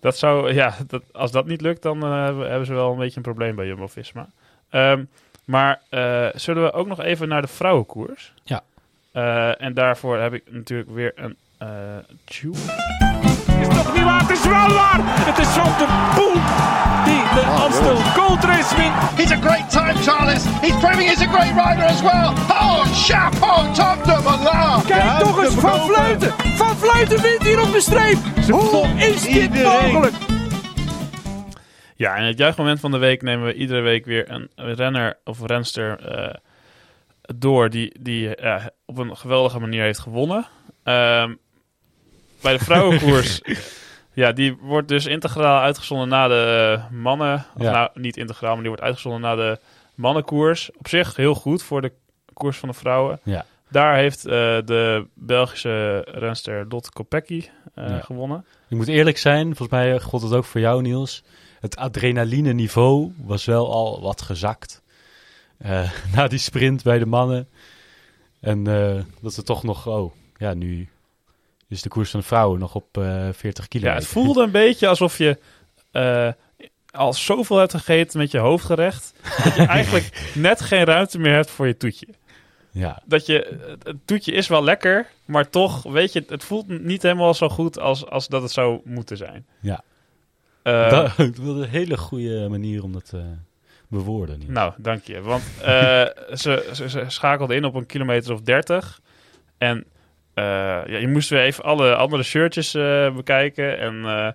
Speaker 1: Dat zou, ja, dat, als dat niet lukt, dan eh, hebben hebben ze wel een beetje een probleem bij Jumbo-Visma. Ehm, maar eh, zullen we ook nog even naar de vrouwenkoers?
Speaker 3: Ja.
Speaker 1: Eh, en daarvoor heb ik natuurlijk weer een eh tune.
Speaker 5: is toch niet waar? Het is wel waar! Het is Van de Poel die de Amstel Gold Race wint.
Speaker 6: He's a great time, Charles. He's proving he's a great rider as well. Oh, chapeau, Tom de
Speaker 4: Ah,
Speaker 6: Moulin.
Speaker 5: Kijk toch eens, Van Vleuten! Van Vleuten wint hier op de streep! Hoe is dit mogelijk?
Speaker 1: Ja, en het juichmoment van de week nemen we iedere week weer een renner of renster eh, door die, die eh, op een geweldige manier heeft gewonnen. Ehm, bij de vrouwenkoers, ja, die wordt dus integraal uitgezonden na de eh, mannen. Of
Speaker 3: Ja.
Speaker 1: nou, niet integraal, maar die wordt uitgezonden na de mannenkoers. Op zich heel goed voor de koers van de vrouwen.
Speaker 3: Ja.
Speaker 1: Daar heeft eh, de Belgische renster Dot Kopecky eh,
Speaker 3: Ja.
Speaker 1: gewonnen.
Speaker 3: Ik moet eerlijk zijn, volgens mij eh, gold het ook voor jou, Niels. Het adrenaline niveau was wel al wat gezakt. eh, na die sprint bij de mannen. En eh, dat ze toch nog, oh ja, nu is de koers van de vrouwen nog op eh, 40
Speaker 1: Ja,
Speaker 3: kilometer.
Speaker 1: het voelde een beetje alsof je eh, al zoveel hebt gegeten met je hoofdgerecht. Dat je eigenlijk net geen ruimte meer hebt voor je toetje.
Speaker 3: Ja,
Speaker 1: Dat je, het- het toetje is wel lekker, maar toch, weet je, het voelt niet helemaal zo goed als, als dat het zou moeten zijn.
Speaker 3: Ja.
Speaker 1: Eh,
Speaker 3: dat, ik wilde een hele goede manier om dat eh, te bewoorden. Niels.
Speaker 1: Nou, dank je. Want eh, ze, ze, ze schakelde in op een kilometer of 30. En eh, ja, je moest weer even alle andere shirtjes eh, bekijken. En eh,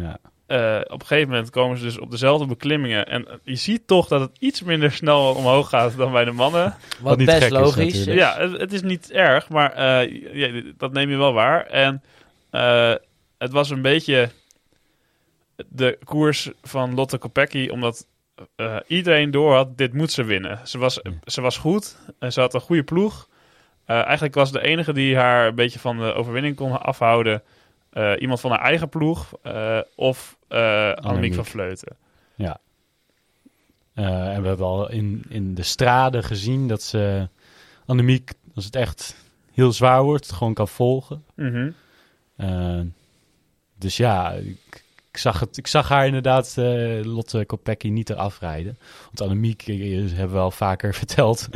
Speaker 3: Ja.
Speaker 1: eh, op een gegeven moment komen ze dus op dezelfde beklimmingen. En eh, je ziet toch dat het iets minder snel omhoog gaat dan bij de mannen.
Speaker 2: Wat
Speaker 3: niet gek
Speaker 2: best
Speaker 3: is
Speaker 2: logisch is.
Speaker 3: natuurlijk.
Speaker 1: Ja, het, het is niet erg, maar eh, ja, dat neem je wel waar. En eh, het was een beetje de koers van Lotte Kopecky, omdat eh, iedereen door had, dit moet ze winnen. Ze was, ze was goed, en ze had een goede ploeg. Eh, eigenlijk was de enige die haar een beetje van de overwinning kon afhouden... eh, iemand van haar eigen ploeg eh, of eh Annemiek
Speaker 3: Annemiek.
Speaker 1: van Vleuten.
Speaker 3: Eh, en we hebben al in, in de straden gezien dat ze Annemiek, als het echt heel zwaar wordt, gewoon kan volgen.
Speaker 1: Mhm.
Speaker 3: Eh, dus ja, ik, ik, zag het, ik zag haar inderdaad, eh, Lotte Kopecky, niet eraf rijden. Want Annemiek, eh, hebben we al vaker verteld,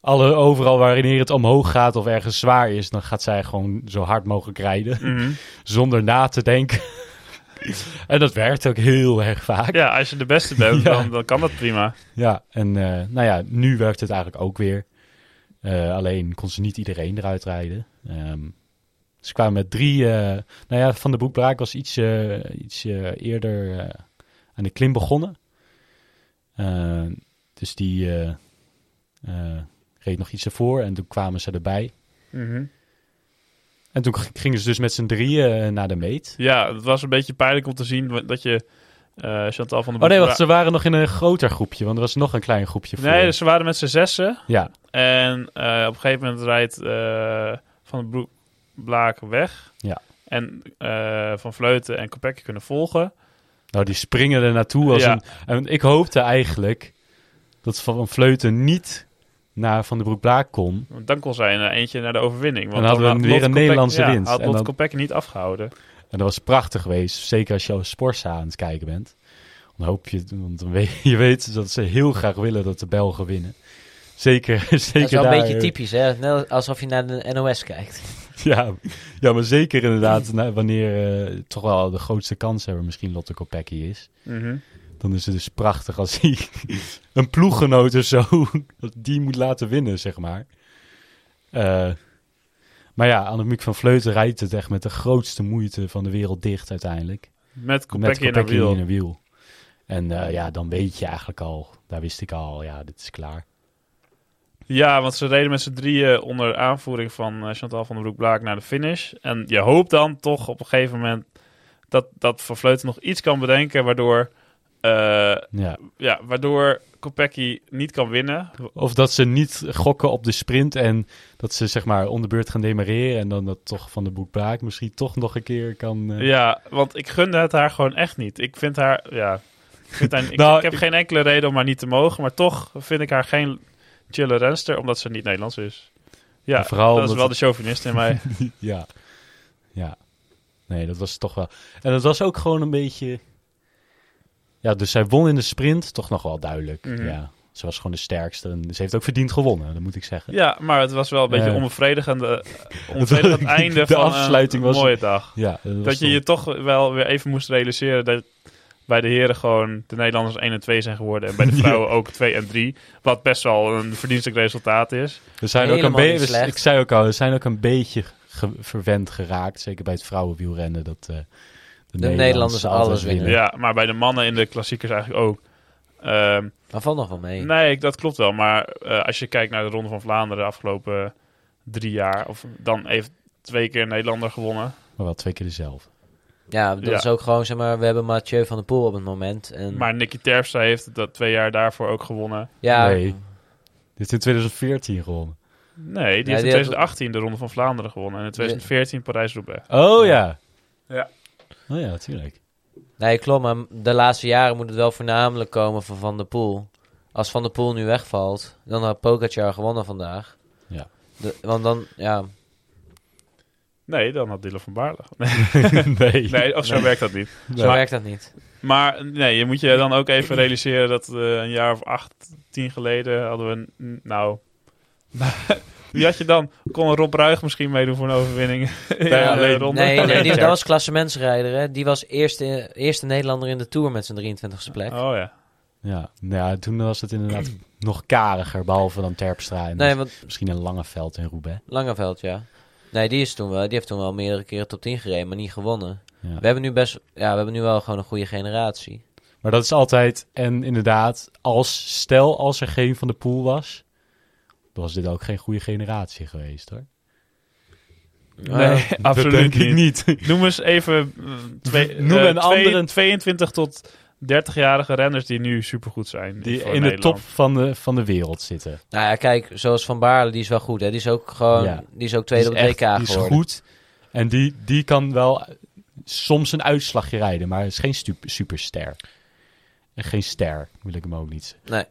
Speaker 3: alle, overal waarin het omhoog gaat of ergens zwaar is, dan gaat zij gewoon zo hard mogelijk rijden,
Speaker 1: mhm.
Speaker 3: zonder na te denken. en dat werkt ook heel erg vaak.
Speaker 1: Ja, als je de beste bent,
Speaker 3: Ja.
Speaker 1: dan, dan kan dat prima.
Speaker 3: Ja, en eh, nou ja, nu werkt het eigenlijk ook weer. Eh, alleen kon ze niet iedereen eruit rijden. Ehm, ze kwamen met drie... eh, nou ja, Van de Broekbraak was iets, eh, iets eh, eerder eh, aan de klim begonnen. Eh, dus die eh, eh, reed nog iets ervoor en toen kwamen ze erbij.
Speaker 1: Mhm.
Speaker 3: En toen g- gingen ze dus met z'n drieën eh, naar de meet.
Speaker 1: Ja, het was een beetje pijnlijk om te zien wa- dat je eh, Chantal van der
Speaker 3: Oh nee,
Speaker 1: Broek-
Speaker 3: wacht, ze waren nog in een groter groepje, want er was nog een klein groepje voor.
Speaker 1: Nee, dus ze waren met z'n zessen.
Speaker 3: Ja,
Speaker 1: En eh, op een gegeven moment rijdt eh, Van der Broek Blaak weg.
Speaker 3: Ja.
Speaker 1: En eh, Van Vleuten en Kopecky kunnen volgen.
Speaker 3: Nou, die springen er naartoe. Als
Speaker 1: Ja.
Speaker 3: een, en ik hoopte eigenlijk dat Van Vleuten niet naar Van de Broek Blaak kon.
Speaker 1: Want dan kon zij er eentje naar de overwinning. Want
Speaker 3: En dan hadden we
Speaker 1: had
Speaker 3: weer
Speaker 1: Lotte
Speaker 3: een
Speaker 1: Kopecky-
Speaker 3: Nederlandse
Speaker 1: ja,
Speaker 3: winst.
Speaker 1: had
Speaker 3: En
Speaker 1: Lotte
Speaker 3: dan-
Speaker 1: Kopecky niet afgehouden.
Speaker 3: En dat was prachtig geweest. Zeker als je als Sporza aan het kijken bent. Dan hoop je, want dan weet, je weet dat ze heel graag willen dat de Belgen winnen. Zeker, zeker
Speaker 2: Dat is wel
Speaker 3: daar, eh,
Speaker 2: een beetje typisch, hè? Net alsof je naar de NOS kijkt.
Speaker 3: Ja, ja, maar zeker inderdaad nou, wanneer eh, toch wel de grootste kans hebben misschien Lotte Kopecky is.
Speaker 1: Mhm.
Speaker 3: Dan is het dus prachtig als hij een ploeggenoot of zo, dat die moet laten winnen, zeg maar. Eh, maar ja, Annemiek van Vleuten rijdt het echt met de grootste moeite van de wereld dicht uiteindelijk.
Speaker 1: Met
Speaker 3: met
Speaker 1: Kopecky in haar wiel.
Speaker 3: in een wiel. En eh, ja, dan weet je eigenlijk al, daar wist ik al, ja, dit is klaar.
Speaker 1: Ja, want ze reden met z'n drieën onder aanvoering van eh, Chantal van der Broek-Blaak naar de finish. En je hoopt dan toch op een gegeven moment dat, dat Van Vleuten nog iets kan bedenken waardoor, eh,
Speaker 3: Ja.
Speaker 1: ja, waardoor Kopecky niet kan winnen.
Speaker 3: Of dat ze niet gokken op de sprint en dat ze zeg maar om de beurt gaan demareren. En dan dat toch van de boekbraak misschien toch nog een keer kan... eh,
Speaker 1: Ja, want ik gunde het haar gewoon echt niet. Ik vind haar, ja, ik, vind haar, ik,
Speaker 3: Nou,
Speaker 1: ik heb
Speaker 3: ik-
Speaker 1: geen enkele reden om haar niet te mogen. Maar toch vind ik haar geen chille renster, omdat ze niet Nederlands is. Ja,
Speaker 3: En vooral
Speaker 1: dat is
Speaker 3: omdat-
Speaker 1: wel de chauvinist in mij.
Speaker 3: Ja. Ja. Nee, dat was toch wel. En dat was ook gewoon een beetje. Ja, dus zij won in de sprint, toch nog wel duidelijk.
Speaker 1: Mhm.
Speaker 3: Ja. Ze was gewoon de sterkste. En ze heeft ook verdiend gewonnen, dat moet ik zeggen.
Speaker 1: ja, maar het was wel een beetje
Speaker 3: Eh.
Speaker 1: onbevredigend, eh, onbevredigend einde
Speaker 3: De
Speaker 1: van
Speaker 3: afsluiting
Speaker 1: een
Speaker 3: was-
Speaker 1: mooie dag.
Speaker 3: Ja, dat,
Speaker 1: Dat je je toch wel weer even moest realiseren dat bij de heren gewoon de Nederlanders 1 en 2 zijn geworden. En bij de vrouwen ook 2 en 3. Wat best wel een verdienstelijk resultaat is.
Speaker 3: We zijn ook een
Speaker 2: Helemaal niet
Speaker 3: beetje,
Speaker 2: slecht.
Speaker 3: ik zei ook al, we zijn ook een beetje ge- verwend geraakt. Zeker bij het vrouwenwielrennen. Dat eh, de,
Speaker 2: Nederlanders
Speaker 3: altijd
Speaker 2: alles winnen.
Speaker 1: Ja, maar bij de mannen in de klassiekers eigenlijk ook. Ehm,
Speaker 2: Maar valt nog wel mee.
Speaker 1: nee, ik- dat klopt wel. Maar eh, als je kijkt naar de Ronde van Vlaanderen de afgelopen drie jaar. Of, dan heeft twee keer een Nederlander gewonnen.
Speaker 3: Maar wel twee keer dezelfde.
Speaker 2: Ja, dat
Speaker 1: Ja.
Speaker 2: is ook gewoon, zeg maar, we hebben Mathieu van der Poel op het moment.
Speaker 3: Mm.
Speaker 2: En,
Speaker 1: Maar Nicky Terpstra heeft dat twee jaar daarvoor ook gewonnen.
Speaker 2: ja,
Speaker 3: Nee. Dit is in 2014 gewonnen.
Speaker 1: Nee, die
Speaker 2: die
Speaker 1: heeft
Speaker 2: had-
Speaker 1: in 2018 de Ronde van Vlaanderen gewonnen. En in 2014 Parijs-Roubaix.
Speaker 3: Oh ja.
Speaker 1: Ja.
Speaker 3: Oh ja, natuurlijk.
Speaker 2: nee, klopt. Maar de laatste jaren moet het wel voornamelijk komen van Van der Poel. Als Van der Poel nu wegvalt, dan had Pogacar gewonnen vandaag.
Speaker 3: Ja.
Speaker 2: De- want dan, ja,
Speaker 1: Nee, dan had Dylan van Baarle.
Speaker 3: nee.
Speaker 1: Nee, of zo werkt dat niet.
Speaker 2: zo
Speaker 1: Maar-
Speaker 2: werkt dat niet.
Speaker 1: Maar nee, je moet je dan ook even realiseren dat eh, een jaar of acht, tien geleden hadden we... een- n- Nou, wie had je dan? Kon Rob Ruig misschien meedoen voor een overwinning?
Speaker 3: Ja,
Speaker 1: de
Speaker 3: nee,
Speaker 1: ronde?
Speaker 2: Nee, nee die,
Speaker 1: Ja.
Speaker 2: dat was klassementsrijder, hè. Die was eerste, eerste Nederlander in de Tour met zijn 23e plek.
Speaker 1: Oh ja.
Speaker 3: Ja, nou ja, toen was het inderdaad nog kariger, behalve dan Terpstra en dus
Speaker 2: Nee, want
Speaker 3: misschien een lange veld in Roubaix.
Speaker 2: Langeveld, ja. Nee, die, is toen wel, die heeft toen wel meerdere keren top 10 gereden, maar niet gewonnen.
Speaker 3: Ja.
Speaker 2: We hebben nu best, ja, we hebben nu wel gewoon een goede generatie.
Speaker 3: Maar dat is altijd, en inderdaad, als, stel als er geen Van de Poel was, dan was dit ook geen goede generatie geweest hoor.
Speaker 1: Nee, absoluut
Speaker 3: dat denk
Speaker 1: niet.
Speaker 3: ik niet.
Speaker 1: Noem eens even mm, twee,
Speaker 3: Noem
Speaker 1: eh,
Speaker 3: een
Speaker 1: twee-
Speaker 3: andere-
Speaker 1: 22 tot 30-jarige renners die nu supergoed zijn.
Speaker 3: Die
Speaker 1: voor
Speaker 3: in de
Speaker 1: Nederland.
Speaker 3: top van de, van de wereld zitten.
Speaker 2: Nou ja, kijk, zoals Van Baarle, die is wel goed. Hè? Die is ook gewoon,
Speaker 3: Ja.
Speaker 2: die is ook tweede
Speaker 3: Die is
Speaker 2: op
Speaker 3: echt-
Speaker 2: het WK
Speaker 3: die is
Speaker 2: geworden.
Speaker 3: goed. En die, die kan wel soms een uitslagje rijden, maar is geen stu- superster. En geen ster, wil ik hem ook niet zeggen.
Speaker 2: Nee.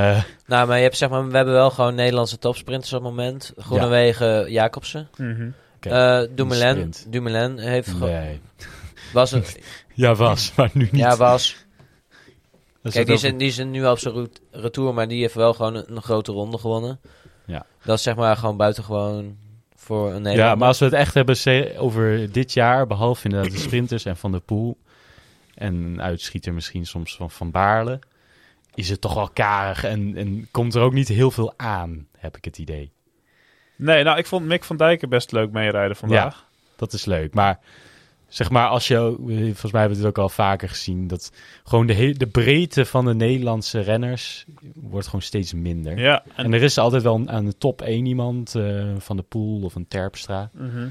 Speaker 3: Eh,
Speaker 2: Nou, maar je hebt zeg maar, we hebben wel gewoon Nederlandse topsprinters op het moment. Groenewegen, Jacobsen.
Speaker 1: Mhm.
Speaker 2: Eh Dumoulin,
Speaker 3: sprint.
Speaker 2: Dumoulin heeft ge-
Speaker 3: nee.
Speaker 2: was het,
Speaker 3: Ja, was, maar nu niet.
Speaker 2: ja was.
Speaker 3: Dat
Speaker 2: Kijk,
Speaker 3: ook
Speaker 2: die is, die is nu op zijn roet- retour, maar die heeft wel gewoon een, een grote ronde gewonnen.
Speaker 3: Ja.
Speaker 2: Dat is zeg maar gewoon buitengewoon voor een Nederlander.
Speaker 3: ja, maar als we het echt hebben se- over dit jaar, behalve inderdaad de sprinters en Van der Poel en een uitschieter misschien soms van Van Baarle, is het toch wel karig en, en komt er ook niet heel veel aan, heb ik het idee.
Speaker 1: Nee, nou, ik vond Mick van Dijk er best leuk meerijden vandaag.
Speaker 3: Dat is leuk, maar zeg maar als je, ook- volgens mij hebben we het ook al vaker gezien, dat gewoon de, he- de breedte van de Nederlandse renners wordt gewoon steeds minder.
Speaker 1: Ja, en,
Speaker 3: En er is altijd wel aan de top één iemand, eh, Van der Poel of een Terpstra.
Speaker 1: mhm.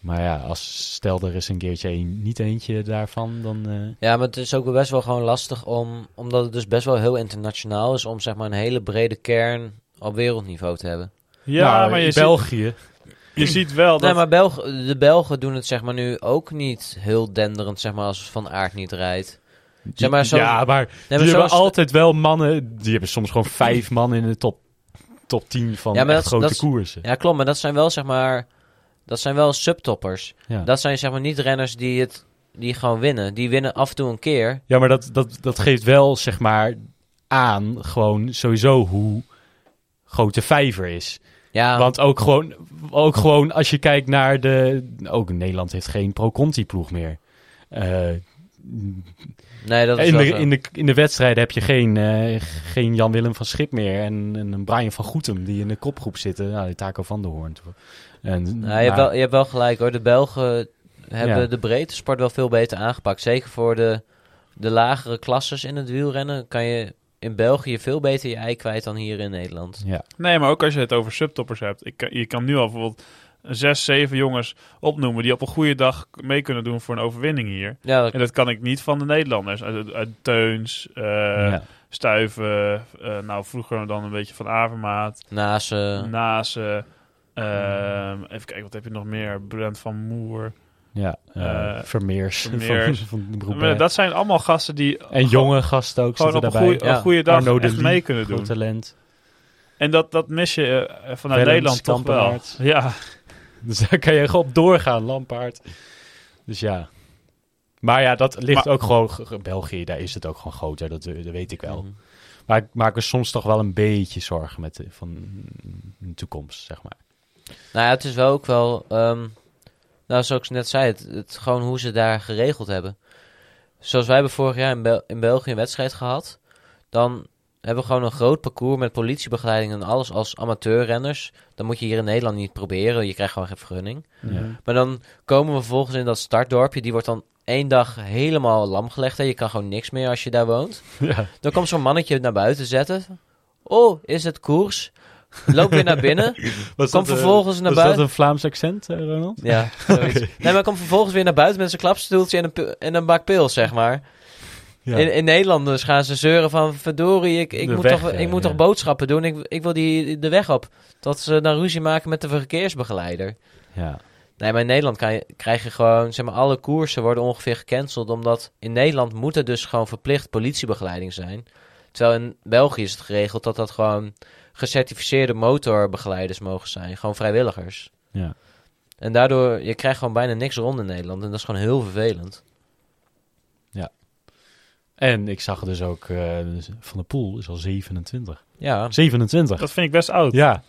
Speaker 3: Maar ja, als stel er is een keertje een, niet eentje daarvan, dan... eh,
Speaker 2: Ja, maar het is ook wel best wel gewoon lastig om, omdat het dus best wel heel internationaal is, om zeg maar een hele brede kern op wereldniveau te hebben.
Speaker 1: ja
Speaker 3: nou,
Speaker 1: maar je
Speaker 3: in
Speaker 1: ziet,
Speaker 3: België.
Speaker 1: je ziet wel dat...
Speaker 2: Nee, maar Belg de Belgen doen het zeg maar nu ook niet heel denderend, zeg maar, als Van Aard niet rijdt. Zeg maar, zo,
Speaker 3: ja, maar die
Speaker 2: maar
Speaker 3: hebben
Speaker 2: zo'n sta-
Speaker 3: altijd wel mannen... Die hebben soms gewoon vijf man in de top, top 10 van
Speaker 2: Ja, maar
Speaker 3: echt
Speaker 2: dat-
Speaker 3: grote
Speaker 2: dat-
Speaker 3: koersen.
Speaker 2: ja, klopt, maar dat zijn wel zeg maar, dat zijn wel subtoppers.
Speaker 3: Ja.
Speaker 2: Dat zijn zeg maar niet renners die het, die gewoon winnen. Die winnen af en toe een keer.
Speaker 3: Ja, maar dat, dat, dat geeft wel, zeg maar, aan gewoon sowieso hoe groot de vijver is.
Speaker 2: Ja,
Speaker 3: Want ook gewoon, ook gewoon als je kijkt naar de... Ook Nederland heeft geen pro-conti-ploeg meer. Eh,
Speaker 2: nee, dat is
Speaker 3: in
Speaker 2: wel
Speaker 3: de,
Speaker 2: zo.
Speaker 3: in, de, in de wedstrijden heb je geen, eh, geen Jan-Willem van Schip meer en, en een Brian van Goetem die in de kopgroep zitten. Nou, die Taco van der Hoorn. toch. En,
Speaker 2: Nou, je, hebt
Speaker 3: maar-
Speaker 2: wel, je hebt wel gelijk hoor. De Belgen hebben
Speaker 3: Ja.
Speaker 2: de breedte sport wel veel beter aangepakt. Zeker voor de, de lagere klasses in het wielrennen kan je in België veel beter je ei kwijt dan hier in Nederland.
Speaker 3: Ja,
Speaker 1: Nee, maar ook als je het over subtoppers hebt. Ik, kan- je kan nu al bijvoorbeeld zes, zeven jongens opnoemen die op een goede dag mee kunnen doen voor een overwinning hier.
Speaker 2: Ja, dat-
Speaker 1: En dat kan ik niet van de Nederlanders. Uit, uit Teuns, eh,
Speaker 3: ja.
Speaker 1: Stuiven, eh, nou vroeger dan een beetje van Avermaat,
Speaker 2: naast... eh,
Speaker 3: Nou,
Speaker 1: Naassen. ehm, even kijken, wat heb je nog meer? Brent van Moer.
Speaker 3: ja eh,
Speaker 1: Eh,
Speaker 3: Vermeers.
Speaker 1: Vermeers.
Speaker 3: Van, van de Broek- eh.
Speaker 1: Maar dat zijn allemaal gasten die
Speaker 3: en jonge gasten ook
Speaker 1: gewoon
Speaker 3: zitten
Speaker 1: op een
Speaker 3: daarbij.
Speaker 1: goeie-
Speaker 2: Ja.
Speaker 1: een goede dag
Speaker 3: Arno de
Speaker 1: echt
Speaker 3: Lee,
Speaker 1: mee kunnen
Speaker 3: Groot
Speaker 1: doen.
Speaker 3: talent.
Speaker 1: En dat, dat mis je eh, vanuit
Speaker 3: Willems,
Speaker 1: Nederland toch wel.
Speaker 3: Kampenaerts.
Speaker 1: Ja,
Speaker 3: Dus daar kan je gewoon op doorgaan, Lampaard. Dus ja. Maar ja, dat ligt
Speaker 1: Maar-
Speaker 3: ook gewoon... g- g- België, daar is het ook gewoon groter, dat, eh, dat weet ik wel.
Speaker 2: Mhm.
Speaker 3: Maar ik maak me soms toch wel een beetje zorgen met de, van mm, de toekomst, zeg maar.
Speaker 2: Nou ja, het is wel ook wel... ehm, nou, zoals ik net zei, het, het gewoon hoe ze daar geregeld hebben. Zoals wij hebben vorig jaar in, Bel- in België een wedstrijd gehad. Dan hebben we gewoon een groot parcours met politiebegeleiding en alles als amateurrenners. Dan moet je hier in Nederland niet proberen. Je krijgt gewoon geen vergunning.
Speaker 3: Ja.
Speaker 2: Maar dan komen we vervolgens in dat startdorpje. Die wordt dan één dag helemaal lam gelegd. Hè. Je kan gewoon niks meer als je daar woont.
Speaker 3: Ja.
Speaker 2: Dan komt zo'n mannetje naar buiten zetten. Oh, is het koers? Loop weer naar binnen.
Speaker 3: Was eh,
Speaker 2: Kom vervolgens naar
Speaker 3: was
Speaker 2: buiten.
Speaker 3: dat een Vlaams accent, eh, Ronald?
Speaker 2: Ja, zoiets. Nee, maar kom vervolgens weer naar buiten met zijn klapstoeltje en een, pu- en een bak pils, zeg maar.
Speaker 3: Ja.
Speaker 2: In, in Nederland dus gaan ze zeuren van... verdorie, ik, ik
Speaker 3: De
Speaker 2: moet,
Speaker 3: weg,
Speaker 2: toch,
Speaker 3: ja,
Speaker 2: ik moet
Speaker 3: ja.
Speaker 2: toch boodschappen doen? Ik, ik wil die, de weg op. Dat ze dan ruzie maken met de verkeersbegeleider.
Speaker 3: Ja.
Speaker 2: Nee, maar in Nederland kan je, krijg je gewoon... Zeg maar, alle koersen worden ongeveer gecanceld... omdat in Nederland moet er dus gewoon verplicht politiebegeleiding zijn. Terwijl in België is het geregeld dat dat gewoon... gecertificeerde motorbegeleiders mogen zijn. Gewoon vrijwilligers.
Speaker 3: ja.
Speaker 2: En daardoor, je krijgt gewoon bijna niks rond in Nederland. En dat is gewoon heel vervelend.
Speaker 3: En ik zag dus ook, eh, Van der Poel is al 27.
Speaker 2: Ja,
Speaker 3: 27?
Speaker 1: dat vind ik best oud.
Speaker 3: Ja.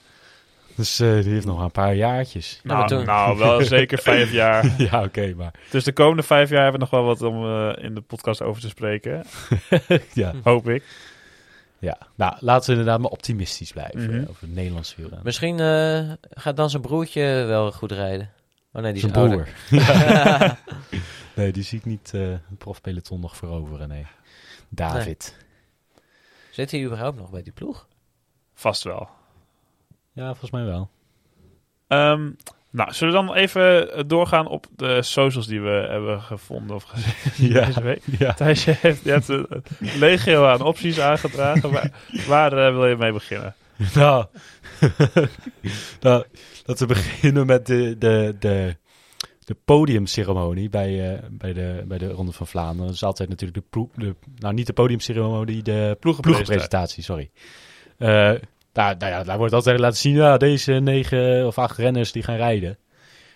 Speaker 3: Dus eh, die heeft nog een paar jaartjes.
Speaker 2: Ja, maar
Speaker 1: Nou,
Speaker 2: toen-
Speaker 1: nou, wel zeker vijf jaar.
Speaker 3: ja, oké, maar...
Speaker 1: Dus de komende vijf jaar hebben we nog wel wat om eh, in de podcast over te spreken.
Speaker 3: ja.
Speaker 1: Hoop ik.
Speaker 3: ja. Nou, laten we inderdaad maar optimistisch blijven
Speaker 1: Mhm.
Speaker 3: eh, over het Nederlands wielrennen.
Speaker 2: misschien eh, gaat dan zijn broertje wel goed rijden. Oh nee, die is
Speaker 3: Zijn
Speaker 2: ouder.
Speaker 3: broer. nee, die zie ik niet eh het profpeloton nog veroveren, nee. David.
Speaker 2: Zit hij überhaupt nog bij die ploeg?
Speaker 1: Vast wel.
Speaker 3: Ja, volgens mij wel.
Speaker 1: Ehm, nou, zullen we dan even eh, doorgaan op de socials die we hebben gevonden of gezien
Speaker 3: Ja.
Speaker 1: deze week?
Speaker 3: Ja.
Speaker 1: Thijsje heeft je hebt een legio aan opties aangedragen. Waar, waar eh, wil je mee beginnen?
Speaker 3: Nou, nou, laten we beginnen met de, de, de, de podiumceremonie bij, eh, bij, de, bij de Ronde van Vlaanderen. Dat is altijd natuurlijk de, ploeg- de nou niet de podiumceremonie, de ploegenpresentatie, sorry. Eh, daar, nou ja, daar wordt altijd laten zien, ja, deze negen of acht renners die gaan rijden.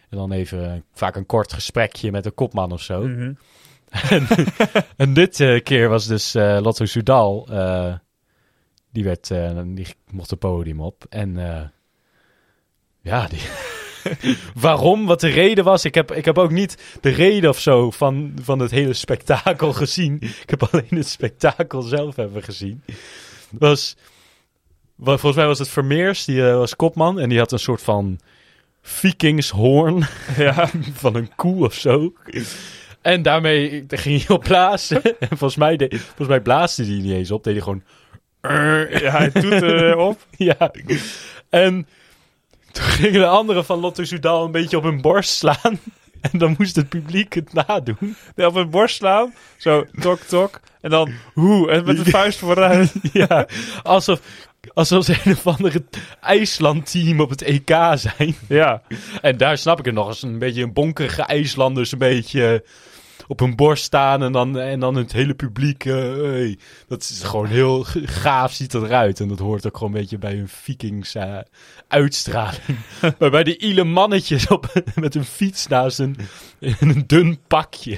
Speaker 3: En dan even eh, vaak een kort gesprekje met een kopman of zo.
Speaker 1: Mhm.
Speaker 3: En dit eh, keer was dus eh, Lotto Soudal. eh, die, werd, eh, die mocht het podium op. En eh, ja, die waarom, wat de reden was. Ik heb, ik heb ook niet de reden of zo van, van het hele spektakel gezien. Ik heb alleen het spektakel zelf hebben gezien. Was, wa- volgens mij was het Vermeers, die eh, was kopman. En die had een soort van vikingshoorn
Speaker 1: Ja.
Speaker 3: van een koe of zo. En daarmee ging hij op blazen. En volgens mij, de, volgens mij blaasde hij niet eens op. Deed hij gewoon...
Speaker 1: ja, hij doet erop.
Speaker 3: Ja. En toen gingen de anderen van Lotto Soudal een beetje op hun borst slaan. En dan moest het publiek het nadoen.
Speaker 1: Nee, op mijn borst slaan. Zo, tok, tok. En dan, hoe? En met de vuist vooruit.
Speaker 3: Ja, alsof, alsof ze een of andere IJsland-team op het EK zijn.
Speaker 1: Ja.
Speaker 3: En daar snap ik het nog eens. Een beetje een bonkerige IJslanders een beetje eh, op hun borst staan. En dan, en dan het hele publiek. eh, hey. dat is gewoon heel g- gaaf ziet dat eruit. En dat hoort ook gewoon een beetje bij hun vikings eh, uitstraling. maar bij die ile mannetjes op, met hun fiets naast een, in een dun pakje.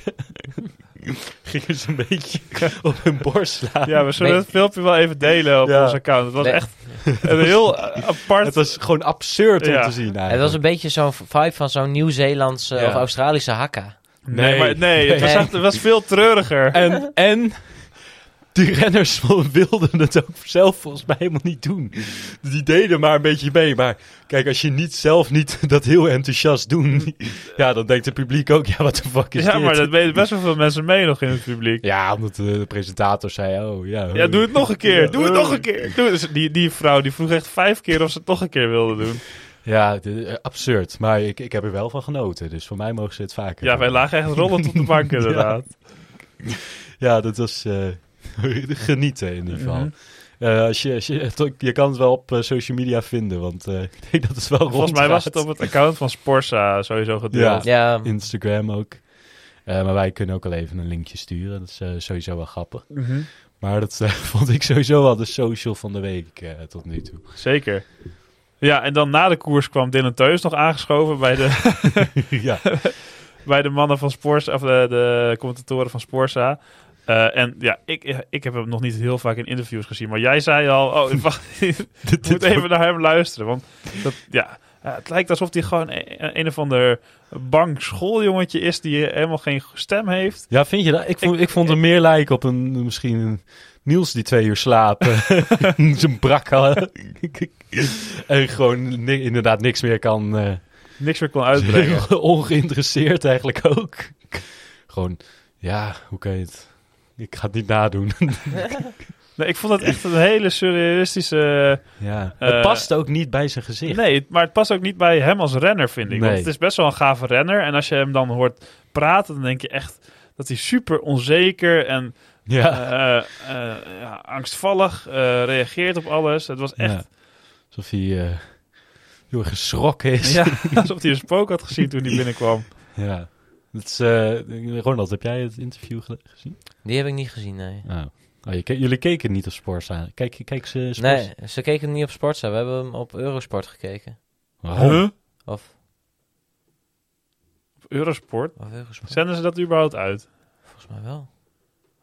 Speaker 3: Gingen ze een beetje op hun borst slaan.
Speaker 1: ja, we zullen
Speaker 2: Nee.
Speaker 1: het filmpje wel even delen op
Speaker 3: Ja.
Speaker 1: ons account. Het was
Speaker 2: Nee.
Speaker 1: echt een heel eh, apart...
Speaker 3: Het was gewoon absurd om
Speaker 1: Ja.
Speaker 3: te zien eigenlijk.
Speaker 2: Het was een beetje zo'n vibe van zo'n Nieuw-Zeelandse
Speaker 3: Ja.
Speaker 2: of Australische hakka.
Speaker 1: Nee, maar, nee, Het, was
Speaker 2: Nee.
Speaker 1: echt, het was veel treuriger.
Speaker 3: En, en die renners wilden het ook zelf volgens mij helemaal niet doen. Die deden maar een beetje mee. Maar kijk, als je niet zelf niet dat heel enthousiast doen, ja, dan denkt het publiek ook, ja, wat de fuck is
Speaker 1: Ja,
Speaker 3: dit?
Speaker 1: maar dat weten best wel veel mensen mee nog in het publiek.
Speaker 3: Ja, omdat de, de presentator zei, oh ja.
Speaker 1: Ja, doe het nog een keer. Doe het
Speaker 3: Ja.
Speaker 1: nog een keer. Doe het. Dus die, die vrouw die vroeg echt vijf keer of ze het nog een keer wilde doen.
Speaker 3: Ja, de- eh, absurd. Maar ik, ik heb er wel van genoten. Dus voor mij mogen ze het vaker.
Speaker 1: Ja,
Speaker 3: doen.
Speaker 1: wij lagen echt rollend op de bank inderdaad.
Speaker 3: Ja, dat was eh, genieten in ieder geval.
Speaker 1: Mhm.
Speaker 3: Eh, als je, als je, je kan het wel op eh, social media vinden, want eh, ik denk dat het wel
Speaker 1: Volgens mij was het
Speaker 3: rondgaat.
Speaker 1: op het account van Sporsa sowieso gedeeld.
Speaker 2: Ja,
Speaker 3: Instagram ook. Eh, maar wij kunnen ook al even een linkje sturen. Dat is eh, sowieso wel grappig.
Speaker 1: Mhm.
Speaker 3: Maar dat eh, vond ik sowieso al de social van de week eh, tot nu toe.
Speaker 1: Zeker. Ja, en dan na de koers kwam Dylan Teus nog aangeschoven bij de,
Speaker 3: ja.
Speaker 1: bij de mannen van Sporza, of de, de commentatoren van Sporza. Eh, en ja, ik, ik heb hem nog niet heel vaak in interviews gezien. Maar jij zei al, oh, ik wacht, ik moet even naar hem luisteren. Want dat, ja, eh, het lijkt alsof hij gewoon een, een of ander bang schooljongetje is die helemaal geen stem heeft.
Speaker 3: ja, vind je dat? Ik vond, ik, vond hem meer lijken op een, misschien een Niels die twee uur slaapt. Zijn brak al. en gewoon ni- inderdaad niks meer kan... eh,
Speaker 1: Niks meer kon uitbrengen.
Speaker 3: Ongeïnteresseerd eigenlijk ook. Gewoon, ja, hoe kan je het? Ik ga het niet nadoen.
Speaker 1: Nee, ik vond dat echt een hele surrealistische...
Speaker 3: ja.
Speaker 1: Eh,
Speaker 3: het past ook niet bij zijn gezicht.
Speaker 1: Nee, het- maar het past ook niet bij hem als renner, vind ik. Want
Speaker 3: Nee.
Speaker 1: het is best wel een gave renner. En als je hem dan hoort praten, dan denk je echt dat hij super onzeker en
Speaker 3: Ja.
Speaker 1: eh, eh, ja, angstvallig eh, reageert op alles. Het was echt
Speaker 3: Ja. Alsof hij eh, heel erg geschrokken is.
Speaker 1: ja. alsof hij een spook had gezien toen hij binnenkwam.
Speaker 3: Ja. Het is, eh, Ronald, heb jij het interview ge- gezien?
Speaker 2: Die heb ik niet gezien, nee.
Speaker 3: Oh. Oh, je ke- jullie keken niet op Sports aan. Kijk, kijk ze Sporza?
Speaker 2: Nee, ze keken hem niet op Sportza. We hebben hem op Eurosport gekeken.
Speaker 3: Waarom?
Speaker 2: Of,
Speaker 1: Op Eurosport.
Speaker 2: of Eurosport,
Speaker 1: Zenden ze dat überhaupt uit?
Speaker 2: volgens mij wel.
Speaker 3: Ja,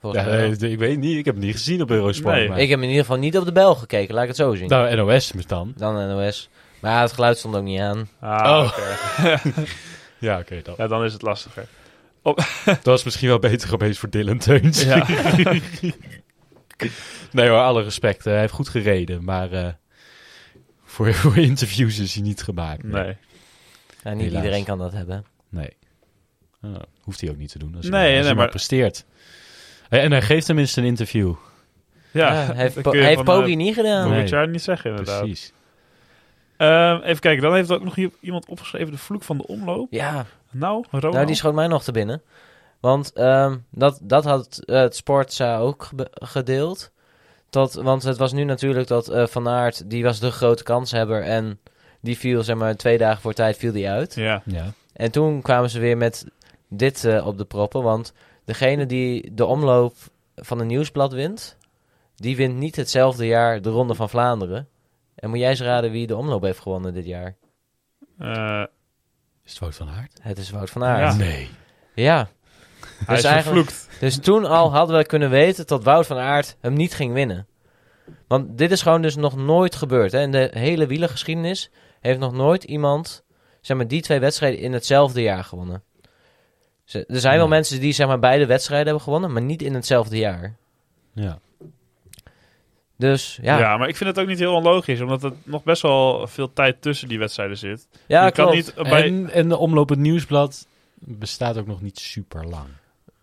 Speaker 3: Oh.
Speaker 2: Volgens mij wel.
Speaker 3: nee, ik weet niet. Ik heb het niet gezien op Eurosport.
Speaker 1: Nee.
Speaker 3: maar-
Speaker 2: Ik heb in ieder geval niet op de bel gekeken, laat ik het zo zien.
Speaker 3: Nou, NOS dan.
Speaker 2: Dan NOS. Maar ja, het geluid stond ook niet aan.
Speaker 1: Ah,
Speaker 3: Oh.
Speaker 1: oké.
Speaker 3: Ja, oké. dat.
Speaker 1: Ja, dan is het lastiger.
Speaker 3: Dat was misschien wel beter geweest voor Dylan Teuns.
Speaker 1: Ja.
Speaker 3: Nee hoor, alle respect. eh, Hij heeft goed gereden, maar eh, voor, voor interviews is hij niet gemaakt.
Speaker 1: Nee.
Speaker 2: Ja, niet
Speaker 3: Helaas.
Speaker 2: iedereen kan dat hebben.
Speaker 3: Nee. Ah, hoeft hij ook niet te doen als
Speaker 1: Nee,
Speaker 3: hij, als
Speaker 1: nee,
Speaker 3: hij maar...
Speaker 1: maar-
Speaker 3: presteert. Eh, En hij geeft tenminste een interview.
Speaker 1: Ja,
Speaker 2: Ja, hij heeft,
Speaker 1: dat
Speaker 2: po-
Speaker 1: kun je
Speaker 2: hij heeft
Speaker 1: van, eh,
Speaker 2: Poggi niet gedaan.
Speaker 1: volgend
Speaker 3: Nee.
Speaker 1: jaar niet zeggen, inderdaad.
Speaker 3: Precies.
Speaker 1: Ehm, even kijken, dan heeft ook nog hier iemand opgeschreven de vloek van de omloop.
Speaker 2: Ja,
Speaker 1: Nou,
Speaker 3: Oh.
Speaker 1: Ronald.
Speaker 2: nou die schoot mij nog te binnen. Want ehm, dat, dat had eh, het Sportza ook gebe- gedeeld. Tot, want het was nu natuurlijk dat eh, Van Aert, die was de grote kanshebber. En die viel, zeg maar, twee dagen voor tijd viel die uit.
Speaker 1: Ja.
Speaker 3: Ja.
Speaker 2: En toen kwamen ze weer met dit eh, op de proppen. Want degene die de omloop van een nieuwsblad wint, die wint niet hetzelfde jaar de Ronde van Vlaanderen. En moet jij eens raden wie de omloop heeft gewonnen dit jaar?
Speaker 1: Eh,
Speaker 3: Is het Wout van Aert?
Speaker 2: Het is Wout van Aert.
Speaker 1: Ja.
Speaker 3: Nee.
Speaker 2: Ja.
Speaker 1: hij is
Speaker 2: eigenlijk-
Speaker 1: vervloekt.
Speaker 2: Dus toen al hadden we kunnen weten dat Wout van Aert hem niet ging winnen. Want dit is gewoon dus nog nooit gebeurd. Hè? In de hele wielergeschiedenis heeft nog nooit iemand zeg maar, die twee wedstrijden in hetzelfde jaar gewonnen. Ze- er zijn wel
Speaker 3: Nee.
Speaker 2: mensen die zeg maar, beide wedstrijden hebben gewonnen, maar niet in hetzelfde jaar.
Speaker 3: Ja.
Speaker 2: Dus ja,
Speaker 1: Ja.
Speaker 2: ja,
Speaker 1: maar ik vind het ook niet heel onlogisch, omdat er nog best wel veel tijd tussen die wedstrijden zit. je kan
Speaker 2: klopt.
Speaker 1: niet Eh, bij.
Speaker 3: En, en de omlopend nieuwsblad bestaat ook nog niet super lang.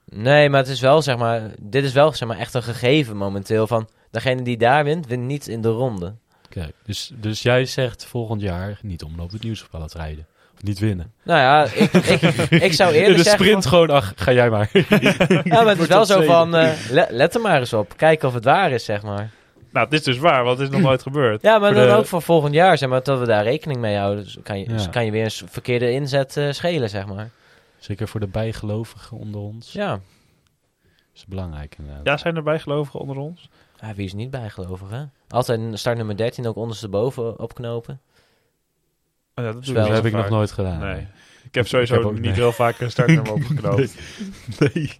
Speaker 2: Nee, maar het is wel, zeg maar, dit is wel zeg maar, echt een gegeven momenteel van degene die daar wint, wint niet in de ronde.
Speaker 3: Kijk, dus, dus jij zegt volgend jaar niet omlopend nieuwsblad rijden. Of niet winnen.
Speaker 2: Nou ja, ik, ik, ik zou
Speaker 3: In
Speaker 2: eerder
Speaker 3: de
Speaker 2: zeggen...
Speaker 3: sprint gewoon, ach, ga jij maar.
Speaker 2: Ja, maar het is
Speaker 3: Wordt
Speaker 2: wel
Speaker 3: dat
Speaker 2: zo
Speaker 3: tweede.
Speaker 2: van, eh, le- let er maar eens op. Kijk of het waar is, zeg maar.
Speaker 1: Nou, dit is dus waar, want het is nog nooit gebeurd.
Speaker 2: Ja, maar
Speaker 1: Voor
Speaker 2: dan
Speaker 1: de-
Speaker 2: ook voor volgend jaar, zeg maar, dat we daar rekening mee houden. Dus kan je,
Speaker 3: Ja.
Speaker 2: dus kan je weer een s- verkeerde inzet eh, schelen, zeg maar. Dus
Speaker 3: Zeker voor de bijgelovigen onder ons.
Speaker 2: Ja.
Speaker 3: is belangrijk eh, inderdaad.
Speaker 1: Ja, zijn er bijgelovigen onder ons?
Speaker 2: Ah, wie is niet bijgelovig, hè? Altijd een start nummer 13 ook ondersteboven opknopen.
Speaker 1: Oh, ja, dat doe
Speaker 2: Wel,
Speaker 3: dat
Speaker 1: niet
Speaker 3: heb
Speaker 1: zo
Speaker 3: ik nog
Speaker 1: vaak.
Speaker 3: nooit gedaan.
Speaker 1: Nee. Ik heb sowieso
Speaker 3: Ik heb ook-
Speaker 1: niet
Speaker 3: nee.
Speaker 1: heel vaak een startnummer opgeknoopt.
Speaker 3: Nee.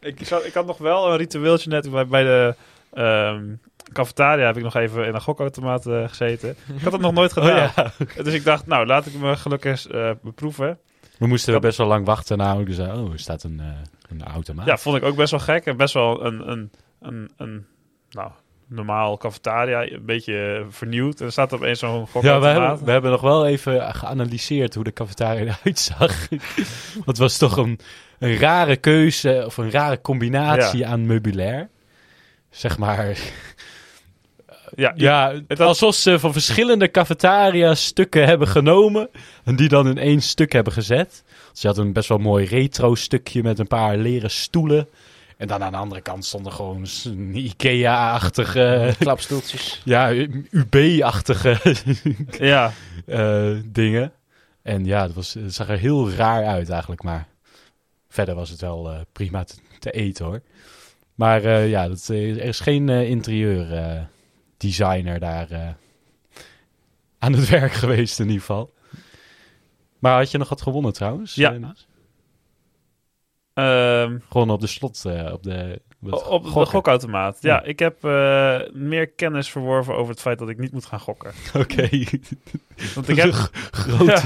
Speaker 1: Ik, zou- ik had nog wel een ritueeltje net bij, bij de ehm, cafetaria. Heb ik nog even in een gokautomaat eh, gezeten. Ik had dat nog
Speaker 3: Oh
Speaker 1: nooit gedaan. Dus ik dacht, nou, laat ik me gelukkig eh beproeven.
Speaker 3: We moesten
Speaker 1: Ja.
Speaker 3: best wel lang wachten namelijk. Dus, eh, oh, er staat een, eh een automaat.
Speaker 1: Ja, vond ik ook best wel gek. En best wel een, een, een, een nou, normaal cafetaria, een beetje vernieuwd. En er staat opeens zo'n
Speaker 3: Ja, we
Speaker 1: gokautomaat.
Speaker 3: hebben, we hebben nog wel even geanalyseerd hoe de cafetaria eruit zag. Want het was toch een, een rare keuze of een rare combinatie aan meubilair. Zeg maar,
Speaker 1: Ja, ja.
Speaker 3: ja,
Speaker 1: het had-
Speaker 3: alsof ze van verschillende cafetaria stukken hebben genomen en die dan in één stuk hebben gezet. Ze had een best wel mooi retro stukje met een paar leren stoelen. En dan aan de andere kant stond er gewoon een Ikea-achtige,
Speaker 2: Klapstoeltjes.
Speaker 3: ja, UB-achtige eh, dingen. En ja, het, was, het zag er heel raar uit eigenlijk, maar verder was het wel eh, prima te, te eten hoor. Maar eh, ja, dat, eh, er is geen eh, interieur eh, designer daar eh, aan het werk geweest in ieder geval. Maar had je nog wat gewonnen trouwens?
Speaker 1: Ja.
Speaker 3: Eh, Naas?
Speaker 1: Ehm,
Speaker 3: Gewoon op de slot, eh, op de... Op, het
Speaker 1: op de
Speaker 3: gokken.
Speaker 1: gokautomaat. Ja,
Speaker 3: Ja.
Speaker 1: ik heb eh, meer kennis verworven over het feit dat ik niet moet gaan gokken.
Speaker 3: Oké,
Speaker 1: Want ik heb,
Speaker 3: groot.
Speaker 1: Ja.
Speaker 3: Dat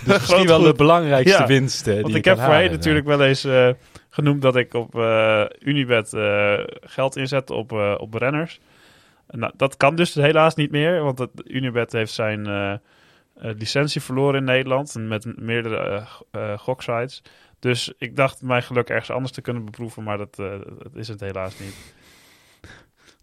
Speaker 3: is misschien
Speaker 1: Groot
Speaker 3: wel de
Speaker 1: goed.
Speaker 3: belangrijkste
Speaker 1: Ja,
Speaker 3: winst eh, die
Speaker 1: want
Speaker 3: je
Speaker 1: ik heb
Speaker 3: kan
Speaker 1: voorheen
Speaker 3: halen.
Speaker 1: natuurlijk wel eens eh, genoemd dat ik op eh Unibet eh, geld inzet op, eh, op renners. Nou, dat kan dus helaas niet meer, want het, Unibet heeft zijn eh, eh, licentie verloren in Nederland en met meerdere eh, g- eh, goksites. Dus ik dacht mijn geluk ergens anders te kunnen beproeven, maar dat, eh, dat is het helaas niet.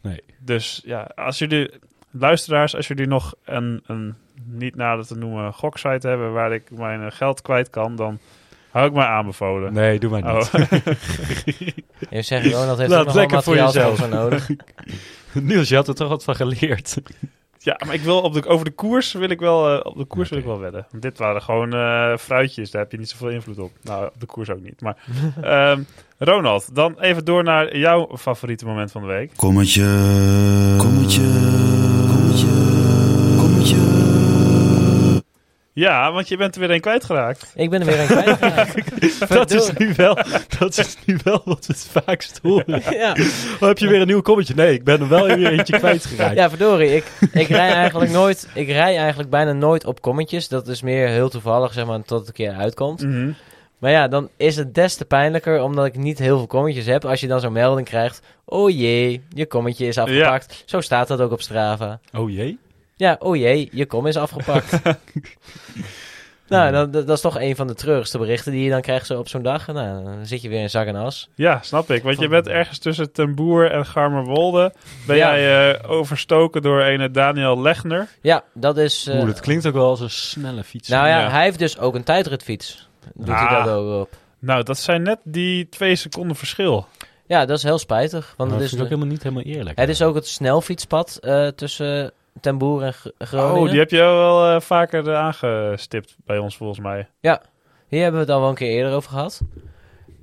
Speaker 3: Nee.
Speaker 1: Dus ja, als jullie, luisteraars, als jullie nog een, een niet nader te noemen goksite hebben waar ik mijn eh, geld kwijt kan, dan hou ik mij aanbevolen.
Speaker 3: eh. Nee, doe maar niet.
Speaker 1: Oh.
Speaker 2: Je zegt, Ronald heeft
Speaker 3: Laat
Speaker 2: ook nog wel
Speaker 3: lekker voor
Speaker 2: materiaal
Speaker 3: jezelf.
Speaker 2: voor nodig.
Speaker 3: Niels, je had er toch wat van geleerd.
Speaker 1: ja, maar ik wil op de, over de koers wil ik wel, eh, op de koers
Speaker 3: Oké.
Speaker 1: wil ik wel wedden. Want dit waren gewoon eh, fruitjes, daar heb je niet zoveel invloed op. Nou, op de koers ook niet. Maar ehm, Ronald, dan even door naar jouw favoriete moment van de week.
Speaker 4: Kommetje. Kommetje. Kommetje. Kommetje.
Speaker 1: Ja, want je bent er weer een kwijtgeraakt.
Speaker 2: Ik ben er weer een kwijtgeraakt.
Speaker 3: Dat is, nu wel, dat is nu wel wat we het vaakst horen.
Speaker 2: ja.
Speaker 3: Oh, heb je weer een nieuw kommetje? Nee, ik ben er wel weer eentje kwijtgeraakt.
Speaker 2: ja, verdorie. Ik, ik rij eigenlijk nooit, ik rij eigenlijk bijna nooit op kommetjes. Dat is meer heel toevallig, zeg maar, tot het een keer uitkomt.
Speaker 1: Mhm.
Speaker 2: Maar ja, dan is het des te pijnlijker omdat ik niet heel veel kommetjes heb. Als je dan zo'n melding krijgt: oh jee, je kommetje is afgepakt. Zo staat dat ook op Strava.
Speaker 3: Oh jee.
Speaker 2: Ja, oh jee, je kom is afgepakt. nou, dan, dat dat is toch een van de treurigste berichten die je dan krijgt zo op zo'n dag. Nou, dan zit je weer in zak en as.
Speaker 1: Ja, snap ik. Want je bent ergens tussen Ten Boer en Garmerwolde. Ben
Speaker 2: Ja.
Speaker 1: jij eh, overstoken door een Daniel Legner?
Speaker 2: Ja, dat is. eh,
Speaker 3: Oeh, dat klinkt ook wel als een snelle fiets.
Speaker 2: nou ja,
Speaker 1: ja.
Speaker 2: hij heeft dus ook een tijdritfiets. Doet hij
Speaker 1: Ah.
Speaker 2: dat ook op?
Speaker 1: Nou, dat zijn net die twee seconden verschil.
Speaker 2: Ja, dat is heel spijtig. Want
Speaker 3: Nou, dat
Speaker 2: het,
Speaker 3: is
Speaker 2: is,
Speaker 3: ook helemaal niet helemaal eerlijk.
Speaker 2: het is ook het snelfietspad eh, tussen Ten Boer en Gr- Groningen.
Speaker 1: Oh, die heb je wel eh, vaker eh, aangestipt bij ons volgens mij.
Speaker 2: Hier hebben we het al wel een keer eerder over gehad.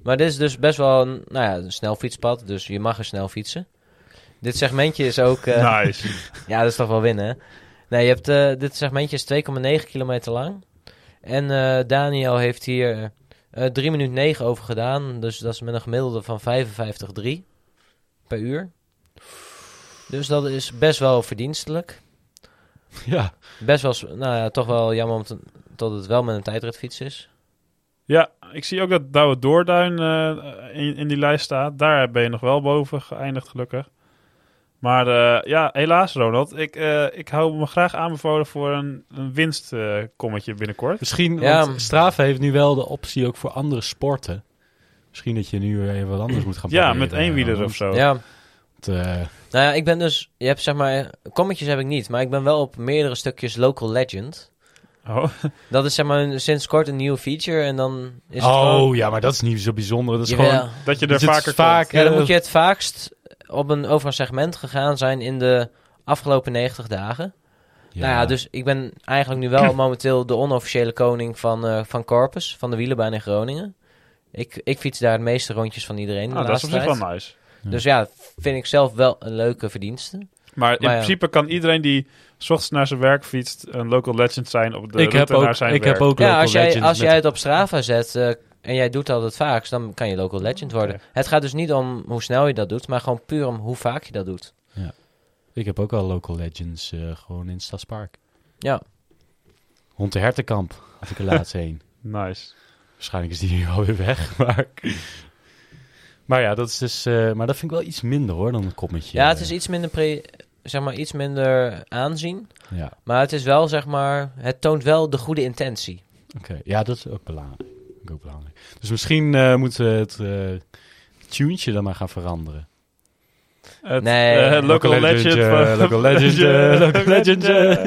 Speaker 2: Maar dit is dus best wel een, nou ja, een snel fietspad, dus je mag er snel fietsen. Dit segmentje is ook... eh,
Speaker 1: Nice.
Speaker 2: Ja, dat is toch wel winnen, hè? Nee, je hebt, eh, dit segmentje is 2,9 kilometer lang. En eh, Daniel heeft hier eh 3 minuten 9 over gedaan. Dus dat is met een gemiddelde van 55,3 per uur. Dus dat is best wel verdienstelijk.
Speaker 3: Ja,
Speaker 2: Best wel, s- nou ja, toch wel jammer om te, dat het wel met een tijdritfiets is.
Speaker 1: ja, ik zie ook dat Douwe Doorduin eh, in, in die lijst staat. Daar ben je nog wel boven geëindigd, gelukkig. Maar eh, ja, helaas Ronald. Ik, eh, ik hou me graag aanbevolen voor een, een winstkommetje binnenkort.
Speaker 3: misschien,
Speaker 2: Ja,
Speaker 3: want
Speaker 2: m-
Speaker 3: Strava heeft nu wel de optie ook voor andere sporten. Misschien dat je nu even wat anders moet gaan
Speaker 1: Ja,
Speaker 3: proberen.
Speaker 1: met eenwieler of zo.
Speaker 2: Ja,
Speaker 3: Want, eh,
Speaker 2: Nou ja, ik ben dus... Je hebt zeg maar... Kommetjes heb ik niet, maar ik ben wel op meerdere stukjes Local Legend.
Speaker 1: Oh.
Speaker 2: Dat is zeg maar een- sinds kort een nieuwe feature en dan is het
Speaker 3: oh,
Speaker 2: gewoon...
Speaker 3: ja, maar dat is niet zo bijzonder. Dat is
Speaker 2: Jawel.
Speaker 3: gewoon...
Speaker 1: Dat je er
Speaker 3: dat je het
Speaker 1: vaker
Speaker 3: vaak-
Speaker 1: komt.
Speaker 2: Ja, dan moet je het vaakst op een, over een segment gegaan zijn in de afgelopen 90 dagen. Nou ja, dus ik ben eigenlijk nu wel momenteel de onofficiële koning van, eh, van Corpus, van de wielenbaan in Groningen. Ik, ik fiets daar het meeste rondjes van iedereen. de
Speaker 1: Nou, dat is
Speaker 2: laatste
Speaker 1: op zich
Speaker 2: tijd.
Speaker 1: wel nice.
Speaker 2: Dus ja, vind ik zelf wel een leuke verdienste.
Speaker 1: Maar in
Speaker 2: Maar ja.
Speaker 1: principe kan iedereen die 's ochtends naar zijn werk fietst een local legend zijn op de
Speaker 3: ik
Speaker 1: route
Speaker 3: heb
Speaker 1: naar
Speaker 3: ook,
Speaker 1: zijn
Speaker 3: ik
Speaker 1: werk.
Speaker 3: heb ook
Speaker 2: Ja,
Speaker 3: Local
Speaker 2: als jij,
Speaker 3: Legends
Speaker 2: als
Speaker 3: met-
Speaker 2: jij het op Strava zet eh, en jij doet dat het vaakst, dan kan je local legend worden.
Speaker 1: Oké.
Speaker 2: Het gaat dus niet om hoe snel je dat doet, maar gewoon puur om hoe vaak je dat doet.
Speaker 3: Ik heb ook wel Local Legends eh, gewoon in Stadspark.
Speaker 2: Ja.
Speaker 3: Hond de Hertenkamp had ik er laatst heen.
Speaker 1: Nice.
Speaker 3: Waarschijnlijk is die nu alweer weg, maar... Maar ja, dat is dus... eh, maar dat vind ik wel iets minder hoor, dan een kommetje.
Speaker 2: Ja, het is iets minder, pre- zeg maar, iets minder aanzien.
Speaker 3: Ja,
Speaker 2: Maar het is wel, zeg maar, het toont wel de goede intentie.
Speaker 3: oké. Ja, dat is ook belangrijk. Dat is Ook belangrijk. Dus misschien eh, moeten we het eh tuntje dan maar gaan veranderen.
Speaker 1: Het,
Speaker 2: Nee.
Speaker 1: eh,
Speaker 2: Local
Speaker 1: local, legend.
Speaker 3: legend, eh,
Speaker 1: van-
Speaker 3: local legend, eh, local legend, eh.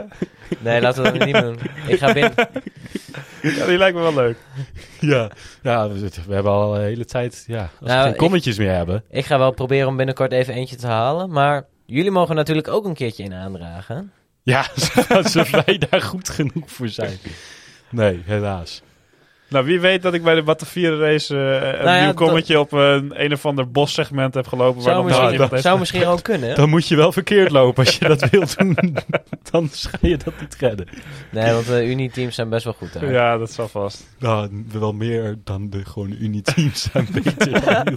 Speaker 2: Nee, laten we dat niet doen. Ik ga binnen.
Speaker 1: Ja, die lijkt me wel leuk.
Speaker 3: Ja. Ja, we, zitten- we hebben al de hele tijd... Ja, als
Speaker 2: Nou,
Speaker 3: we
Speaker 2: ik-
Speaker 3: geen kommetjes meer hebben...
Speaker 2: Ik ga wel proberen om binnenkort even eentje te halen. Maar jullie mogen natuurlijk ook een keertje in aandragen.
Speaker 3: Ja, als wij daar goed genoeg voor zijn. Nee, helaas.
Speaker 1: Nou, wie weet dat ik bij de Batavieren race eh, een
Speaker 2: ja,
Speaker 1: nieuw kommetje op eh, een, een of ander bossegment heb gelopen. waar
Speaker 2: Zou
Speaker 1: nog nooit
Speaker 2: misschien,
Speaker 1: iemand heeft
Speaker 2: zou misschien ook kunnen. hè?
Speaker 3: Dan moet je wel verkeerd lopen als je dat wilt doen. Dan ga je dat niet redden.
Speaker 2: Nee, want de Unie-teams zijn best wel goed daar.
Speaker 1: Ja, dat zal vast.
Speaker 3: Nou, wel meer dan de gewoon Unie-teams zijn beter.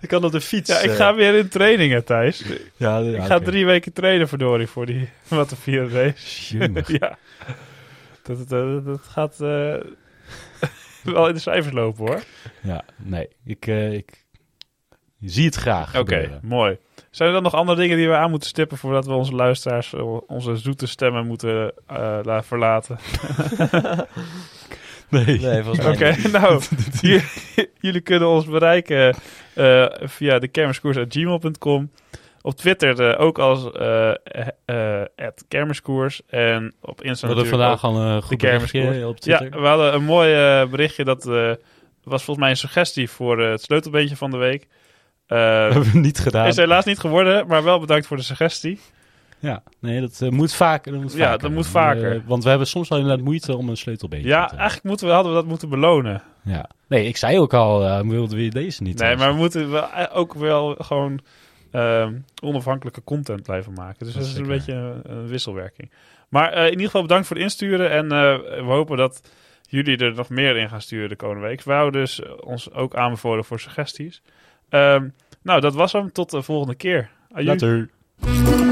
Speaker 3: ik kan op de fiets.
Speaker 1: Ja, ik
Speaker 3: eh,
Speaker 1: ga weer in trainingen, Thijs.
Speaker 3: ja, ja,
Speaker 1: Ik ga
Speaker 3: oké.
Speaker 1: drie weken trainen, verdorie, voor die Batavieren race.
Speaker 3: Jemig.
Speaker 1: ja. Dat, dat, dat- dat gaat eh, wel in de cijfers lopen, hoor.
Speaker 3: Ja, nee. Ik, eh, ik zie het graag.
Speaker 1: Oké,
Speaker 3: gebeuren.
Speaker 1: mooi. Zijn er dan nog andere dingen die we aan moeten stippen voordat we onze luisteraars eh, onze zoete stemmen moeten eh, la- verlaten?
Speaker 3: Nee.
Speaker 2: Nee, volgens mij
Speaker 1: Oké, nou, j- jullie kunnen ons bereiken eh, via de kermiskoers.gmail.com. Op Twitter eh, ook als eh, eh, eh, at kermiskoers. En op
Speaker 3: We
Speaker 1: Insta
Speaker 3: hadden
Speaker 1: natuurlijk ook.
Speaker 3: vandaag al een goed
Speaker 1: kermiskoers.
Speaker 3: berichtje op
Speaker 1: Ja,
Speaker 3: Twitter.
Speaker 1: we hadden een mooi eh, berichtje. Dat eh, was volgens mij een suggestie voor eh, het sleutelbeentje van de week.
Speaker 3: Dat
Speaker 1: Eh,
Speaker 3: hebben we niet gedaan.
Speaker 1: is helaas niet geworden, maar wel bedankt voor de suggestie.
Speaker 3: Ja, nee, dat eh, moet vaker. Dat moet
Speaker 1: Ja,
Speaker 3: vaker.
Speaker 1: dat moet vaker.
Speaker 3: Eh, want we hebben soms wel inderdaad moeite om een sleutelbeentje
Speaker 1: Ja,
Speaker 3: te hebben.
Speaker 1: eigenlijk moeten we, hadden we dat moeten belonen.
Speaker 3: Ja. Nee, ik zei ook al, eh, wilden we deze niet?
Speaker 1: Nee,
Speaker 3: hebben.
Speaker 1: maar we moeten wel, eh, ook wel gewoon ehm, onafhankelijke content blijven maken. Dus dat,
Speaker 3: Dat
Speaker 1: is een
Speaker 3: zeker.
Speaker 1: beetje een, een wisselwerking. Maar eh, in ieder geval bedankt voor het insturen. En eh, we hopen dat jullie er nog meer in gaan sturen de komende week. We houden dus eh, ons ook aanbevolen voor suggesties. Ehm, nou, dat was hem. Tot de volgende keer. Adieu.
Speaker 3: Later.
Speaker 4: Kom